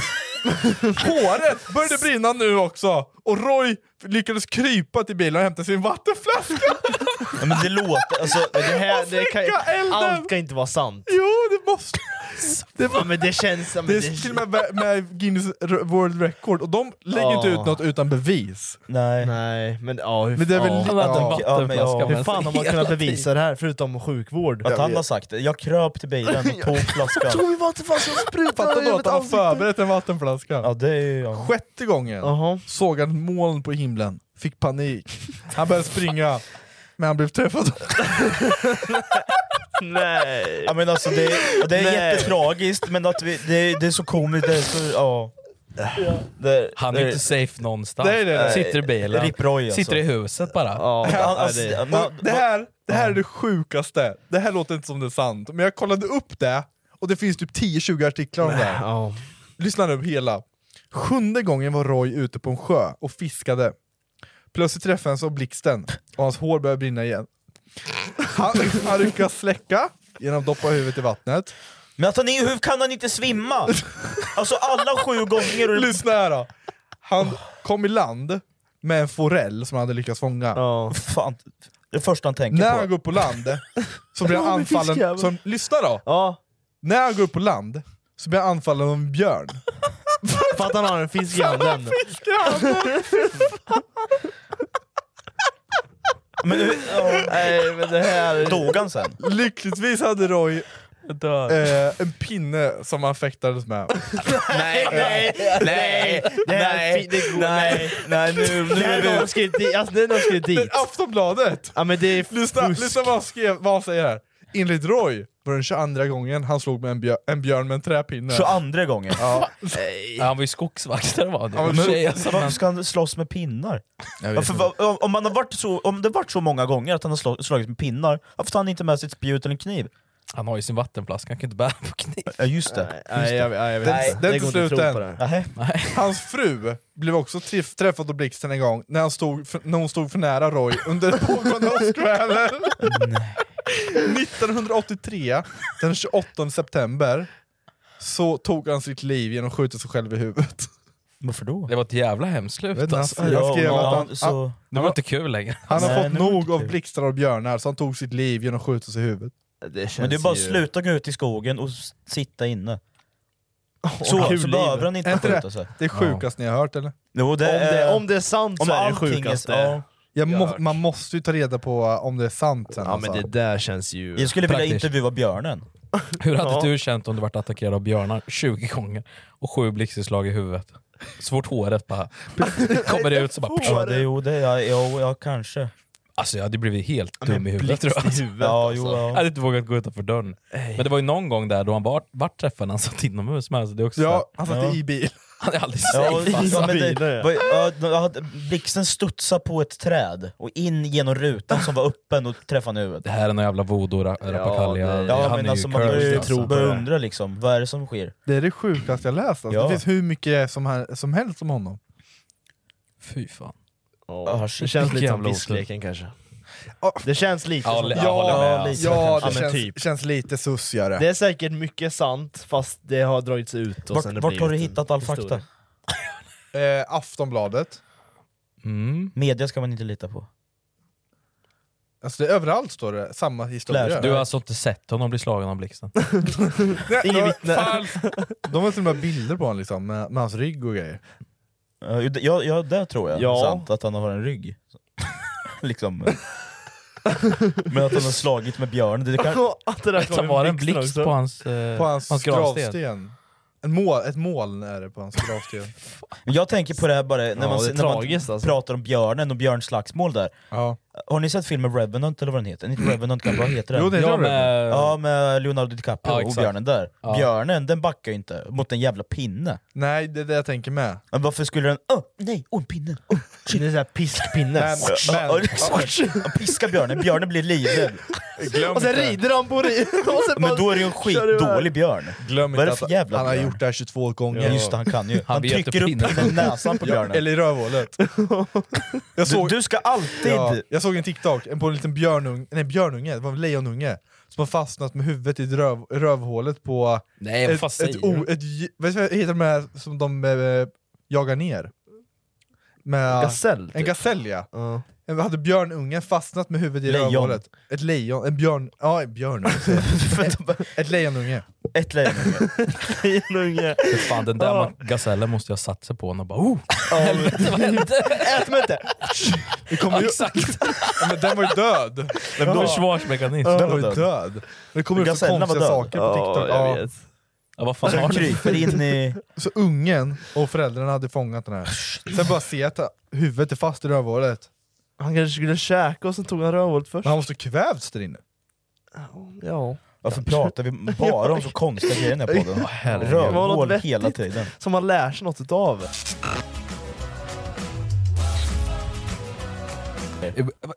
Håret började brinna nu också, och Roy lyckades krypa till bilen och hämta sin vattenflaska.
Ja, men det låter... Alltså,
Men det här, det kan,
Släcka elden!
allt kan inte vara sant.
Jo, det måste...
Det, men det känns som...
Det är till och med, med Guinness R- World Record, och de lägger inte ut
Ja.
något utan bevis.
Nej.
Nej, men ja, hur,
Men det är väl
ja.
li- Ja, men ja.
Ja, men ja.
hur fan har man kunnat bevisa det här förutom sjukvård?
Att han har sagt det. Jag kröp till bilen och tog flaskan.
min vattenflaska och sprutade
Fattar då att han förberett en vattenflaska.
Ja, det är ju... Ja.
Sjätte gången såg han moln på himlen, fick panik. Han började springa, men han blev träffad.
Nej.
Ja, men alltså, det, är- det är
Nej.
jättetragiskt, men att vi, det, är- det är så komiskt. Det är så, ja. Det,
Han är
det-
inte safe någonstans.
Nej, nej, nej.
Sitter i bilen.
Rip Roy, alltså.
Sitter i huset bara.
Han,
Ja,
alltså,
det-
Och det, här, det här är det sjukaste, det här låter inte som det är sant, men jag kollade upp det, och det finns typ 10-20 artiklar om det här.
Ja.
Lyssna nu på hela. Sjunde gången var Roy ute på en sjö och fiskade. Plötsligt träffades han av blixten och hans hår började brinna igen. Han, han lyckas släcka genom att doppa huvudet i vattnet.
Men att han är, hur kan han inte svimma? Alltså alla sju gånger och
Lyssna här då! Han kom i land med en forell som han hade lyckats fånga.
Ja.
Fan, det första han tänker
När
på.
han går upp på land så blir han
Ja, men
anfallen...
fiskjävel.
Så, lyssna då!
ja.
När han går upp på land så blir han anfallen av en björn.
För att han har en fisk i handen.
Men, hur- ja.
Nej men det här...
Dog han sen?
Lyckligtvis hade Roy
Dör.
eh, en pinne som han fäktades med.
Nej, nej, nej, nej, det går, nej, nej, nu, nu är det någon skrivit dit. Alltså, det är någon skrivit dit.
Aftonbladet!
Ja men det är
Lyssna,
fusk.
lyssna vad, han skrev, vad han säger här. Enligt Roy var den 22 gången han slog med en, björ, en björn med en träpinne.
22 gången?
Ja.
Ja, han var ju skogsvakt där var det.
Ja, men-
Men, tjejer som
Varför
han,
ska han slåss med pinnar?
Jag vet
Varför,
inte.
va- om, man har varit så, om det varit så många gånger att han har slå- slagits med pinnar, varför tar han inte med sig ett spjut eller en kniv?
han har ju sin vattenflaska, han kan inte bära på kniv.
Ja just det.
Nej, jag, jag, jag vet
Nej, det är inte
går att tro
slut än.
på det här.
Nähä.
Hans fru blev också träff, träffad av blixten en gång när, han stod för, när hon stod för nära Roy under ett pågående åskväder. 1983, den 28 september, så tog han sitt liv genom att skjuta sig själv i huvudet.
Varför då?
Det var ett jävla hemskt slut
Vet ni, han,
alltså.
skrev- han skrev att han,
så,
Det var inte kul längre.
han har
Nej,
fått
det var
nog
inte
av
kul.
blixtar och björnar så han tog sitt liv genom att skjuta sig i huvudet.
Det känns
men det är bara att
ju-
sluta gå ut i skogen och s- sitta inne. Så,
kul
så
liv.
behöver han
Är
inte
inte det-
skjuta sig.
Det är sjukast ni har hört eller?
Jo, det,
Om det,
är-
Eh, om det är sant
om
så är det
allting är-
sjukaste.
ja.
Jag
Jag
må,
har hört.
man måste ju ta reda på uh, om det är sant sen
ja
alltså.
men det där känns ju...
jag skulle vilja
Praktiskt.
intervjua björnen.
Hur hade
Ja.
du känt om du varit attackerad av björnar 20 gånger och sju blixtslag i huvudet? Så fort håret bara kommer det ut så bara...
Ja, det, jo, det, ja, jo, ja, kanske.
Alltså jag hade blivit helt
men
dum i huvudet
blixt
tror jag.
i huvudet,
Ja,
alltså.
jo,
Jag
ja.
hade inte vågat gå utanför dörren. Men det var ju någon gång där då han var, vart träffade han satt inomhus med. Alltså det är också så här,
Ja, han satt
Ja.
i bil.
han är aldrig
Ja,
safe. alltså.
ja, men
bilar,
det,
ja.
vad- ja, jag hade- blixten studsade på ett träd och in genom rutan som var öppen och träffade han i huvudet.
Det här är någon jävla voodoo-rappakalja.
Ja, det-
Ja,
han
men
är
alltså,
ju
man börjar
cursed
ju
alltså.
börja undra liksom, vad är det som sker?
Det är det sjukaste jag läst. Alltså.
Ja.
Det finns hur mycket som, här, som helst om honom.
Fy fan.
Ja,
shit,
det känns lite
vilken
som
jävla
viskleken kanske.
Ja.
Det känns lite
Ja,
som...
li- ja, håller med,
alltså.
ja det
Ja, men
känns,
typ.
känns lite sussigare.
Det är säkert mycket sant, fast det har dragits ut och sen
Vart,
det
vart
blivit
har du
en
hittat all
historia.
fakta?
Eh, Aftonbladet.
Mm.
Media ska man inte lita på.
Alltså det, överallt står det samma historia.
Du har alltså inte sett honom bli slagen av blixten?
Ingen vittne. De har till och med bilder på honom liksom, med, med hans rygg och grejer.
Ja, ja det tror jag.
Ja.
Sant, att han har en rygg. liksom. eh. Men att han har slagit med björn, det kan...
Att det där kom Kan vara en blixt blixt också. på hans, eh,
på hans,
hans gravsten.
gravsten. En mål, ett moln är det på hans gravsten.
Jag tänker på det här bara när
Ja,
man,
det är
när man
tragiskt, alltså.
pratar om björnen och björnslagsmål där.
Ja.
Har ni sett filmen Revenant eller vad den heter? Inte Revenant kan vad heter den?
Jo, det heter Ja, Revenant. med-
ja, med Leonardo DiCaprio
Ja,
och
exakt.
björnen där.
Ja.
Björnen, den backar ju inte mot en jävla pinne.
Nej, det är det jag tänker med.
Men varför skulle den... Åh, nej! Åh, en pinne! Åh, shit.
Det är såhär piskpinne.
Ja,
Men-
ja, exakt. Ja, Piska björnen, björnen blir livrädd.
Glöm
och sen
inte.
rider han på ri- och sen bara
Men då är det ju en
kör iväg.
skitdålig björn.
Glöm
Vad är
inte
det för
att
jävla
han har
björn?
gjort det här 22 gånger.
Ja, just det, han kan ju. Han
vet
trycker
hur
upp
pinnen
den i
funkar.
näsan på
Ja,
björnen.
Eller i rövhålet. Jag såg, du,
ska alltid...
jag såg en TikTok en på en liten björnung, nej, björnunge, det var en lejonunge, som har fastnat med huvudet i ett röv, rövhålet på
Nej, vad
ett,
fan
ett,
säger
o- ett, j- vad heter de här som de eh, jagar ner? Med,
En gasell, typ.
En gasell ja. En- Hade björnungen fastnat med huvudet i
Lejon.
rövhålet? Ett lejon, en björn, ja en björnunge. ett, ett lejonunge.
Ett lejonunge.
Lejonunge.
För fan, den där man- gasellen måste jag ha satt sig på och bara oh!
Helvete
vad hände?
Ät mig inte!
Det kommer ju,
exakt!
Ja, men den var ju död!
Den var försvarsmekanism. Den
Ja, Den
var
var ju
död.
död. Det kommer upp så
Gasellerna
konstiga
var död.
Typ
saker på TikTok.
Ja, jag vet. Ja, vad fan
Så
har
den
du?
kryper Så ungen och föräldrarna hade fångat den här. Sen bara se att huvudet är fast i rövhålet.
Han kanske skulle käka och sen tog han rövhålet först.
Men han måste ha kvävts där inne.
Ja.
Varför pratar vi bara om så konstiga grejer i den här podden?
Ja, herregud. Det var något
Rövhål
vettigt
hela tiden.
Som man lär sig något utav.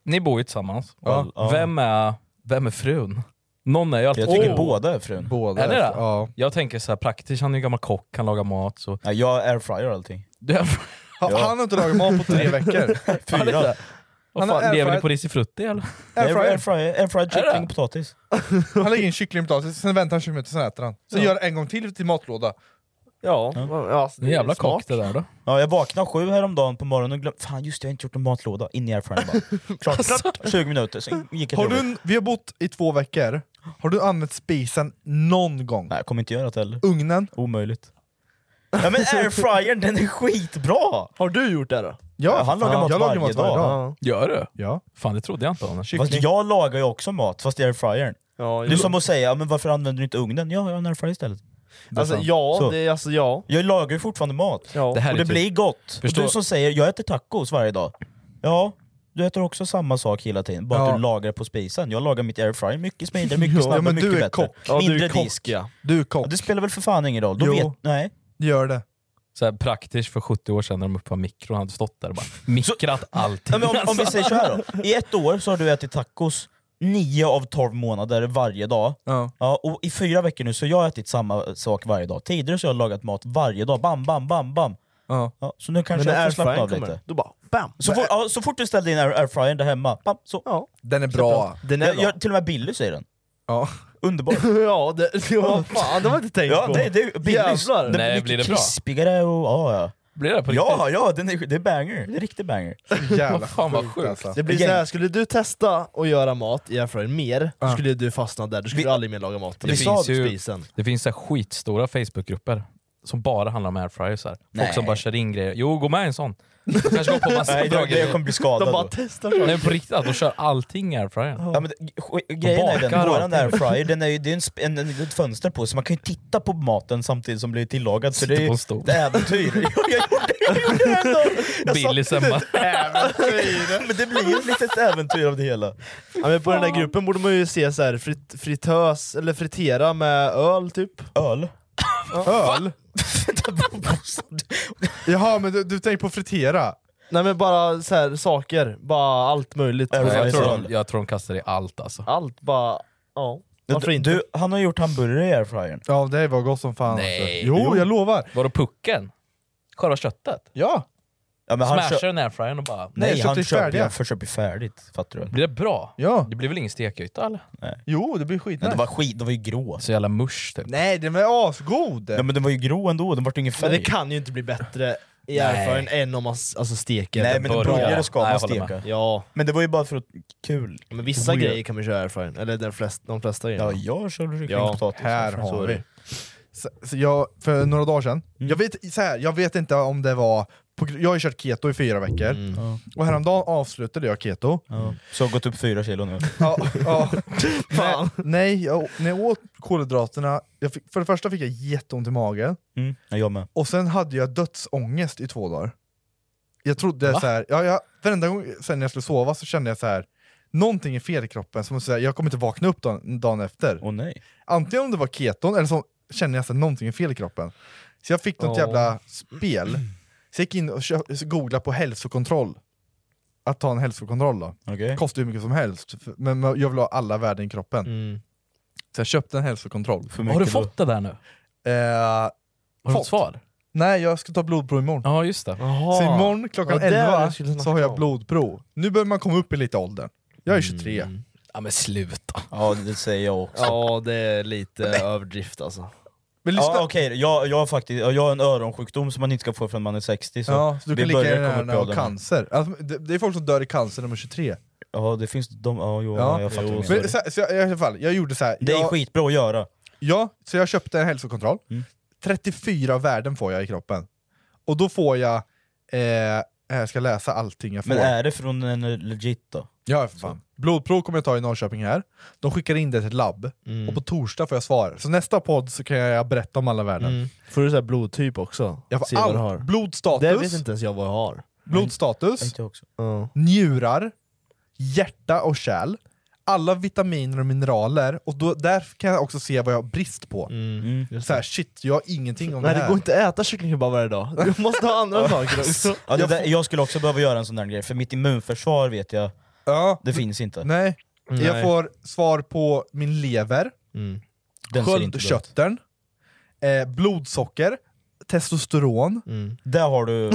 Ni bor ju tillsammans.
Ja.
Och Vem, är, vem är frun? Någon är ju alltid
Jag tycker
frun.
båda är frun.
Båda
Är det det?
Ja.
Jag tänker så här praktiskt, han är ju gammal kock, han lagar mat. Så.
Ja, jag är airfryer allting.
Han,
Ja.
han har inte lagat mat på tre veckor.
Han är
Fyra.
inte- Vad
Han har
fan, lever ni
airfryer-
på risifrutti eller?
Airfryer,
Airfryer.
airfryer, airfried
Är det?
kyckling och potatis.
Han lägger in kyckling och potatis, sen väntar han 20 minuter, sen äter han. Sen
Ja.
gör han en gång till till matlåda.
Ja. ja. Alltså,
En jävla kock det där då.
Ja, jag vaknade sju häromdagen på morgonen och glömde... Fan just det, jag har inte gjort en matlåda. In i airfryern bara. Klart, klart, 20 minuter, sen gick jag
Har
till
du,
jobbet.
en- vi har bott i två veckor, har du använt spisen någon gång?
Nej, jag kommer inte göra det heller.
Ugnen?
Omöjligt. Ja men airfryern, den är skitbra!
Har du gjort det då?
Ja,
han lagar
fan.
mat
jag
varje
lagar mat varje
dag.
dag.
Gör du?
Ja.
Fan det trodde jag inte Anders.
Fast jag lagar ju också mat, fast i airfryern.
Ja,
Det är som att säga, ja, men varför använder du inte ugnen? Ja, jag har en airfryer istället. Det är
Alltså
sant.
ja,
Så.
det, är- alltså ja.
Jag lagar ju fortfarande mat.
ja.
Det här
och
är
det
typ-
blir gott.
Förstår-
Och du som säger, jag äter tacos varje dag. Ja, du äter också samma sak hela tiden, bara
Ja.
att du lagar på spisen. Jag lagar mitt airfryer mycket smidigare, mycket
Ja,
snabbare,
men du
mycket
är
bättre.
kock.
Ja, du är
Mindre
kock,
disk.
ja.
Du är
Ja,
kock,
det spelar väl för fan ingen roll? Då
Jo.
vet... Nej.
gör det.
Så här praktiskt för 70 år sedan när de uppfann mikron, hade stått där och bara mikrat allting.
Ja, men om, om vi säger så här då. I ett år så har du ätit tacos nio av 12 månader varje dag.
Ja.
Ja, och I fyra veckor nu så har jag ätit samma sak varje dag. Tidigare så har jag lagat mat varje dag, bam, bam, bam, bam.
Ja.
Ja, så nu
Men
kanske
när
jag får slappna
airfryern
av
kommer,
lite.
då bara bam!
Så fort, ja, så fort du ställde in air- airfryern där hemma, bam, så.
Ja,
Den är bra.
den är
Jag,
bra.
jag, till och med Billy säger den.
Ja.
Underbar.
Ja, det, ja, fan, det var inte tänkt
Ja,
på.
det, det, Billys,
Jävlar.
den
Nej,
blir
blir det
mycket
bra?
krispigare och ja,
Blir det på
ja.
riktigt?
Ja, ja, den är, det är banger. Det är riktig banger.
Jävla
Fan, vad sjukt.
alltså.
Det blir
Gäng.
så här, skulle du testa att göra mat i airfryern mer, då
Ja.
skulle du fastna där, du skulle
Vi-
aldrig mer laga mat.
Det
Du
finns
sa-
ju-
spisen.
Det finns så här skitstora Facebookgrupper som bara handlar om airfryers. Här. Folk
Nej.
som bara kör in grejer. Jo, gå med i en sån. Du kanske går på massa
Nej,
bra
jag, jag
grejer.
kommer bli
De
skadad
bara
då.
testar
Nej,
saker.
men på riktigt, att de kör allting i airfryern.
Ja, men, det- sk- grejen är
bakar
den,
och
våran airfryer, den är ju, det är en sp- en, en, ett fönster på så man kan ju titta på maten samtidigt som blir tillagad. Så det är
Sitter på
ju
en stol.
ett äventyr. Jo, jag gjorde jag gjorde det ändå! Jag sa-
Billy sen bara...
Men det blir ju ett litet äventyr av det hela.
Ja, men på den där gruppen borde man ju se så här, frit, fritös, eller fritera med öl typ.
Öl.
Öl? Jaha, men du, du tänker på fritera?
Nej men bara så här, saker, bara allt möjligt. Alltså,
Ja,
jag,
Med
tror
öl.
de, jag tror de kastar i allt alltså.
Allt bara, ja. Varför
Du,
inte?
du, han har gjort hamburgare i airfryern.
Ja, det var gott som fan.
Nej.
alltså. Jo, jag lovar.
Var det pucken? Själva köttet?
Ja.
Ja, men han
Smashar
kö-
den i airfryern och bara...
Nej,
köpte
han
ju
köper
färdiga.
ju han köper ju färdigt, fattar du?
Blir det bra?
ja.
Det blir väl ingen stekyta eller?
Jo, det blir
Men
skitnice.
det var skit, det var ju grå.
Så jävla mush typ.
Nej, den var asgod!
Ja men den var ju grå ändå, den vart ingen
Men det
färg.
kan ju inte bli bättre jämförelsen än om man s- alltså, steker
Nej
den
men en
början.
burgare ska
Nej,
man
jag håller med.
steka.
Ja.
Men det var ju bara för att kul.
Men vissa
Weird.
grejer kan man köra erfaren, eller de flesta, de flesta grejerna.
Ja, jag kör kyckling
Ja,
och potatis. Här
så
har
är
vi.
det.
Så, så jag, för några dagar sedan,
Mm.
jag, vet, så här, jag vet inte om det var, på, gr- jag har ju kört keto i fyra veckor,
Mm.
och häromdagen avslutade jag keto.
Ja. Mm. Så jag har gått upp fyra kilo nu.
Ja, ja. nej, nej jag, när jag åt kolhydraterna, jag fick, för det första fick jag jätteont i magen,
Mm. Ja, Jag med.
och sen hade jag dödsångest i två dagar. Jag trodde så här, ja, jag, varenda gång sen jag skulle sova så kände jag så här. någonting är fel i kroppen, som så här, jag kommer inte vakna upp dagen, dagen efter.
Oh, nej.
Antingen om det var keton, eller så kände jag att någonting är fel i kroppen. Så jag fick något
Ja.
jävla spel. Så jag gick in och köp, googlade på hälsokontroll. Att ta en hälsokontroll då.
Okej.
Kostar hur mycket som helst, f- men jag vill ha alla värden i kroppen.
Mm.
Så jag köpte en hälsokontroll.
Har du fått det där nu?
Eh,
Har du ett svar?
Nej, jag ska ta blodprov imorgon.
Ja, just det.
Ah.
Så imorgon klockan
Ja, det är det
11
jag skulle
så har jag blodprov. Nu börjar man komma upp i lite åldern.
Mm.
Jag är 23.
Ja men sluta.
Ja det säger jag också.
Ja det är lite överdrift alltså.
Men lyssna-
Ja, okej, jag, jag, har faktiskt, jag har en öronsjukdom som man inte ska få förrän man är 60 så,
ja, så du
vi
kan lika
börjar komma
gärna
upp i
ha
åldern.
cancer. Alltså, det, det är folk som dör i cancer när de är 23.
Ja det finns de, ja jo,
Ja.
jag fattar
Jo,
vad du
men,
menar.
så, så jag, i alla fall, jag gjorde så här.
Det är
jag,
skitbra att göra.
Ja, så jag köpte en hälsokontroll.
Mm.
34 värden får jag i kroppen. Och då får jag... Eh, jag ska läsa allting jag får.
Men är det från en legit då?
Ja, för fan. Blodprov kommer jag ta i Norrköping här. De skickar in det till ett labb,
Mm.
och på torsdag får jag svar. Så nästa podd så kan jag berätta om alla värden.
Mm. Får du så här blodtyp också?
Jag får
Se vad du har.
allt. Blodstatus.
Det vet inte ens jag vad jag har.
Blodstatus,
Inte jag också.
njurar, hjärta och kärl. Alla vitaminer och mineraler, och då, där kan jag också se vad jag har brist på. Så här, shit, jag har ingenting om
Mm, Nej
det
det
här.
går inte att äta kycklingkebab varje dag. Du måste ha andra saker också.
Ja, det där, jag skulle också behöva göra en sån där grej, för mitt immunförsvar vet jag,
Ja,
det finns inte.
Nej.
Nej.
Jag får svar på min lever,
Den ser inte bra ut.
sköldkörteln, eh, blodsocker, testosteron.
Där har du...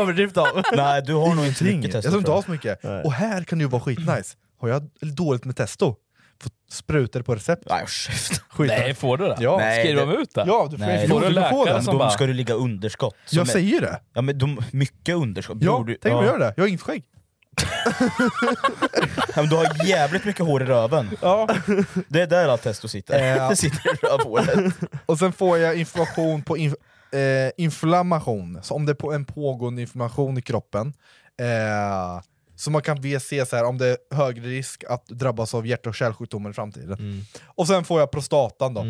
Överdrift av.
Nej du har nog inte
Ingenting.
mycket
Jag
tester
tror
tror
inte jag har
jag.
så mycket. Och här kan det ju vara skitnice. Har jag dåligt med testo, får sprutor på recept.
Nej, käft.
Skit.
Nej, får du det?
Ja.
Nej,
Skriver
det-
de ut det?
Ja, du får-
Nej,
jo,
Får du
du får
läkare
den.
som
De
bara...
ska du ligga underskott. Som
Jag
är-
säger ju det.
Ja men de, mycket underskott.
Ja,
Borde-
tänk om jag
ja.
gör det. Jag har inget skägg.
Ja, men du har jävligt mycket hår i röven.
Ja.
Det är där allt testo sitter.
Ja.
Det sitter i rövhålet.
Och sen får jag information på inf eh, inflammation, så om det är på en pågående inflammation i kroppen. Eh, så man kan ve- se så här, om det är högre risk att drabbas av hjärt och kärlsjukdomar i framtiden.
Mm.
Och sen får jag prostatan då.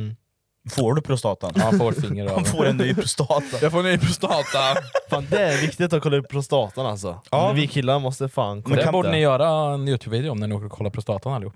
Får du prostatan?
Ja, han får ett finger av
Han får en ny prostata.
Jag får en ny prostata.
Fan det är viktigt att kolla upp prostatan alltså.
Ja.
Vi killar måste fan kolla
det.
upp
Det borde
det.
ni göra en Youtube-video om när ni åker och kollar prostatan allihop.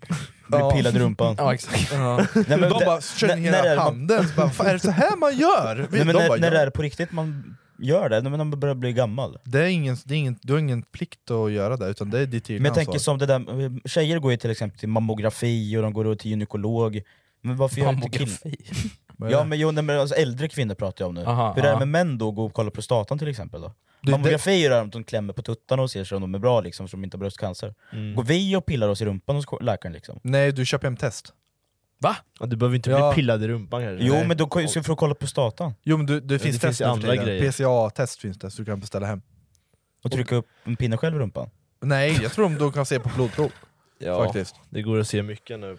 Blir pillad i rumpan.
Ja, exakt.
Nej, men
De
det-
bara känner
när- när är
hela
det man-
handen, så bara, "Fan, är det så här man gör? Vi-
Nej, men
de
när,
bara,
när
"Ja."
är det på riktigt man gör det? När man börjar bli gammal?
det är ingen, det är ingen, du har ingen plikt att göra det, utan det är ditt egna
Men jag tänker
ansvar.
som det där, tjejer går ju till exempel till mammografi och de går till gynekolog. Men varför gör inte killar?
Mammografi.
Vad är
Ja
det?
men, jo, nej, men alltså, äldre kvinnor pratar jag om nu.
Aha,
Hur är det
aha.
med män då, gå och kolla prostatan till exempel då?
det-
Mammografi är det här att de klämmer på tuttarna och ser sig om de är bra liksom, så de inte har bröstcancer. Går vi och pillar oss i rumpan hos läkaren liksom?
Nej, du köper hem test.
Va?
Ja, Du behöver inte
Ja.
bli pillad i rumpan kanske.
Jo men då kan- så får du kolla prostatan
Jo men du, det finns
finns
test
ju
nu för
andra
tiden.
grejer.
PCA-test finns det, så du kan beställa hem.
och trycka upp en pinne själv i rumpan.
Nej, jag tror de då kan se på blodprov.
Ja,
Faktiskt.
Det går att se mycket nu.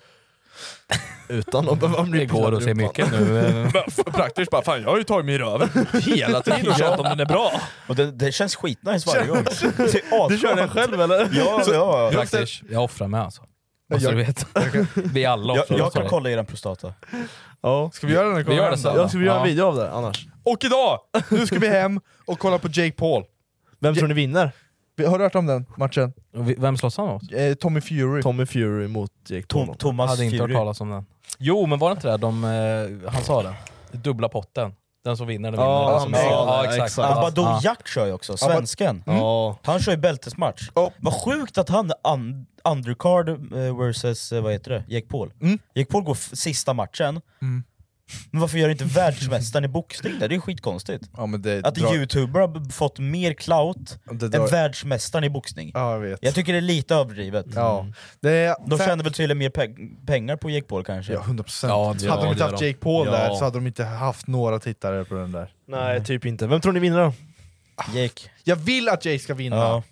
Utan att behöva bli
Det går att se mycket nu. Praktiskt bara, fan jag har ju tagit mig i röven hela tiden och känt om den är bra.
Och det, det känns skitnice varje gång. Det är
Du kör den
asskönt.
själv eller?
Ja, ja. Jag,
Praktiskt. Jag offrar mig alltså. Måste du veta. Vi alla
jag,
offrar
jag
oss,
kan
sorry.
kolla i den prostata.
ja.
Ska vi göra det när
Vi
vi kommer
gör det
hem då?
sen.
Jag ska vi göra en
Ja.
video av det annars?
Och idag! Nu ska vi hem och kolla på Jake Paul.
Vem tror ni vinner?
Vi- Har du hört om den matchen?
Och vi- Vem slåss han mot?
Eh, Tommy Fury.
Tommy Fury mot Jake
Tom,
Paul.
Thomas
hade inte hört
Fury.
talas om den. Jo, men var det inte det de, eh, han sa det? Dubbla potten. Den som vinner, den vinner.
Ja,
den som
men-
vinner.
ja, exakt.
Abadou
Ja.
Jack kör ju också, svensken.
Ja.
Han kör ju bältesmatch.
Ja.
Vad sjukt att han är un undercard eh, versus, eh, vad heter det, Jake Paul.
Mm.
Jake Paul går f- sista matchen,
Mm.
men varför gör inte världsmästaren i boxning det? Det är skitkonstigt.
Ja, men det
Att
drar-
en youtuber har b- fått mer clout
det
än
drar-
världsmästaren i boxning.
Ja, jag vet.
Jag tycker det är lite överdrivet.
ja. det är...
De tjänar väl tydligen mer pe- pengar på Jake Paul kanske?
Ja, 100%.
Ja,
procent.
det-
hade de
ja,
inte
det
haft
gör de.
Jake Paul där
Ja.
så hade de inte haft några tittare på den där.
Nej, typ inte. Vem tror ni vinner då?
Jake.
Jag vill att Jake ska vinna,
Ja.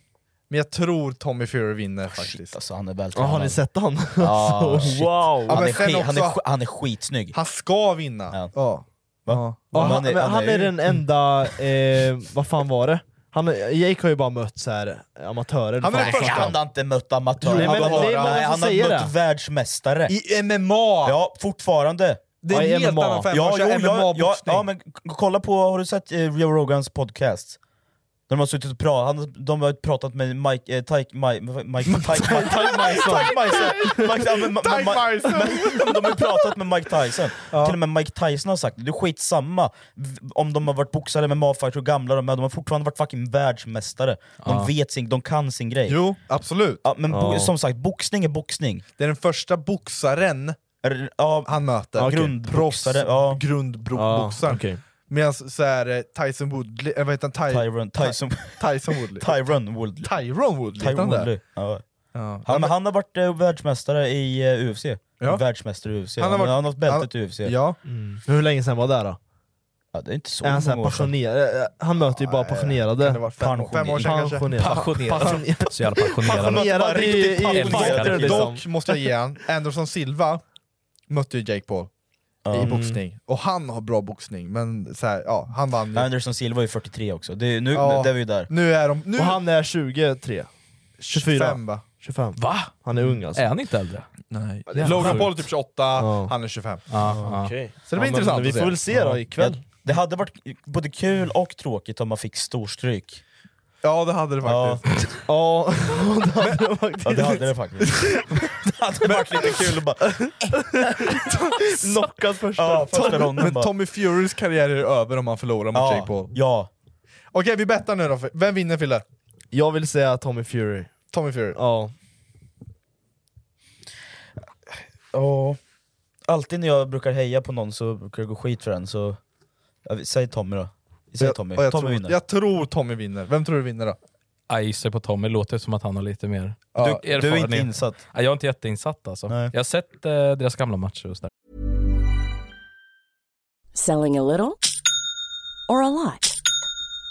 men jag tror Tommy Fury vinner faktiskt.
alltså, han är väl
Ja, har ni sett han?
Ja,
Alltså,
shit.
wow. Ja,
Han,
men
är
sen
skit, han, är,
också-
sk- han är skitsnygg.
Han ska vinna.
Ja.
Ja.
Men
han,
han är-
men
han
han
är
är
ju-
den enda, eh, vad fan var det? Han, Jake har ju bara mött så här, amatörer.
Han,
Fan, vad fan.
han har inte mött amatörer.
Jo,
han
men-
har,
nej, men
nej,
varför
han har
säger
mött
det?
världsmästare.
I MMA!
Ja, fortfarande.
Det är en Ja, i helt MMA. annan femma,
ja,
kör
jo, ja, ja,
MMA-boxning.
ja, men k- kolla på, har du sett eh, Joe Rogans podcast? När de har suttit och pratat, han, de har pratat med Mike, eh, Tyke, Mike, Mike, Mike, Mike, Mike Tyson. Mike Tyson. Mike, ja, men, ma- ma-
Tyke
ma-
Tyson.
men, de har ju pratat med Mike Tyson. Till och med Mike Tyson har sagt det, det är skitsamma v- om de har varit boxare med mafighters och gamla de är, de har fortfarande varit fucking världsmästare. De
Ja.
vet sin, de kan sin grej.
Jo, absolut.
Ja, men bo- som sagt, boxning är boxning.
Det är den första boxaren han möter.
Okej. Grundboxare, ja.
Grundboxaren.
Ja, okej.
Medan så här, eh, Tyson Woodley, eh, vad heter han? Ty-
Tyron- Tyson-
Tyson Woodley.
Tyron Woodley.
Tyron Woodley.
Tyron
heter han där?
Woodley. Ja.
Ja.
Han, men han har varit eh, världsmästare i eh, UFC.
Ja.
Världsmästare i UFC.
Han
Han
har
har,
varit-
han har haft bältet i UFC.
Ja.
Mm. Hur länge sedan var det då?
Ja, det är inte så
är han så här
många år sedan.
passionerad? Eh, Han möter ju bara passionerade.
det vara fem- fem år sedan kanske?
Passionerad.
Passionerad.
Passionerad.
Så jävla passionerad.
Passionerad i, i, i,
Dock-
fighter, liksom.
Dock måste jag ge han, Anderson Silva mötte ju Jake Paul i
Mm.
boxning. Och han har bra boxning, men så här, ja, han vann ju.
Anderson Silva är 43 också. Det, är- nu,
Ja.
det är vi ju där.
Nu är de... Nu...
Och han är 23? 24?
25 va?
25. Va? Han är ung alltså.
Är han
inte äldre?
Nej.
Det är
Logan
sjukt.
Paul är typ 28,
Ja.
han är 25.
Ja, okej.
Så det blir
Ja, men
intressant
vi
att
får väl se då
Ja.
ikväll.
Det hade varit både kul och tråkigt om man fick storstryk.
Ja det hade det faktiskt.
Ja,
Ja, det hade det faktiskt. det hade varit lite kul att bara...
Knockad första.
Ja, första
Tom-
ronden
men
bara.
Tommy Furys karriär är över om han förlorar mot
Ja,
Jake Paul.
Ja.
Okej vi bettar nu då, vem vinner Fille?
Jag vill säga Tommy Fury.
Tommy Fury?
Ja.
Ja. Alltid när jag brukar heja på någon så brukar det gå skit för en, så... Ja, vi- Säg Tommy då. Säg
Jag-
Tommy.
och jag
Tommy
tror-
vinner.
Jag tror Tommy vinner, vem tror du vinner då?
Jag gissar på Tommy, låter som att han har lite mer
Ja,
du,
du är
erfarenhet.
inte insatt.
Ja, jag är inte jätteinsatt alltså. Jag har sett eh, deras gamla matcher och sådär.
Selling a little or a lot?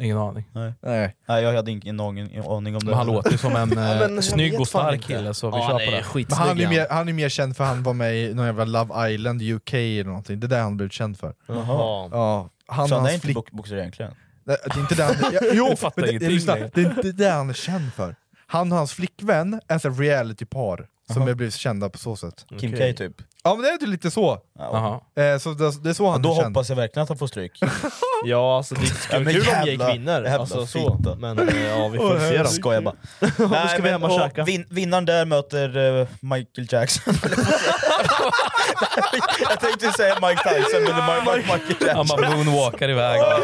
Ingen aning.
Nej,
Nej.
jag hade ingen aning, aning om det.
Men han låter ju som en, eh, Ja, men jag
snygg och stark
kille, så vi
Ja,
kör
nej,
på det.
Men han, är ju mer, han är mer känd för han var med i någon jävla Love Island UK eller någonting, det är där han blev känd för.
Jaha.
Ja, han
så
och
han är
hans
inte
flick...
bo- boxare egentligen?
Nej, det är inte det han... Ja, jo,
Jag fattar
men det,
ingenting
lyssna,
längre.
det är inte det han är känd för. Han och hans flickvän är ett realitypar som har blivit kända på så sätt.
Kim K typ?
Ja men det är ju lite så. Eh, så det, det är så han
Då
är känd.
hoppas jag verkligen att han får stryk.
ja, alltså det skulle
men
vara kul om Jake
jävla-
vinner,
jävla
alltså, så.
fitta.
Men, eh, ja, vi får Åh, se då. herregud.
Skojar bara.
Då ska vi hem och
och
käka.
Vin, vinnaren där möter eh, Michael Jackson. jag tänkte säga Mike Tyson, men det är Mike, Mike, Michael
Han
Jackson.
bara moonwalkar iväg. bara.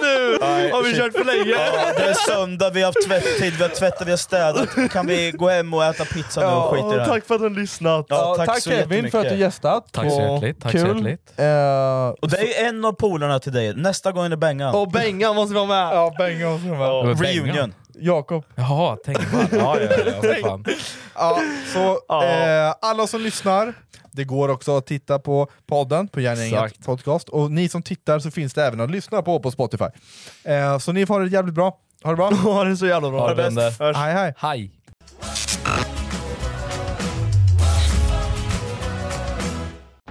nu har vi kört för länge.
Ja, det är söndag, vi har haft tvättid, vi har tvättat, vi har städat. Kan vi gå hem och äta pizza nu och skit i det här?
tack för att du har lyssnat.
Ja, tack så
Kevin för att du
jättemycket.
gästat.
Tack så
Och
hjärtligt, tack så
kul.
hjärtligt.
Eh,
Och det är ju en av polarna till dig, nästa gång är det Bengan.
Och Bengan måste vara med!
Ja, Bengan måste vara
med. Reunion.
Jakob.
Jaha, tänk fan. Ja, ja, ja, vad fan.
Ja, så eh, alla som lyssnar, det går också att titta på podden på Järngänget
Exakt.
podcast. Och ni som tittar så finns det även att lyssna på på Spotify. Eh, så ni får ha det jävligt bra. Ha det bra.
ha det så jävla bra.
Ha
Ha
det
det
bäst.
bra.
Hej hej.
Hej.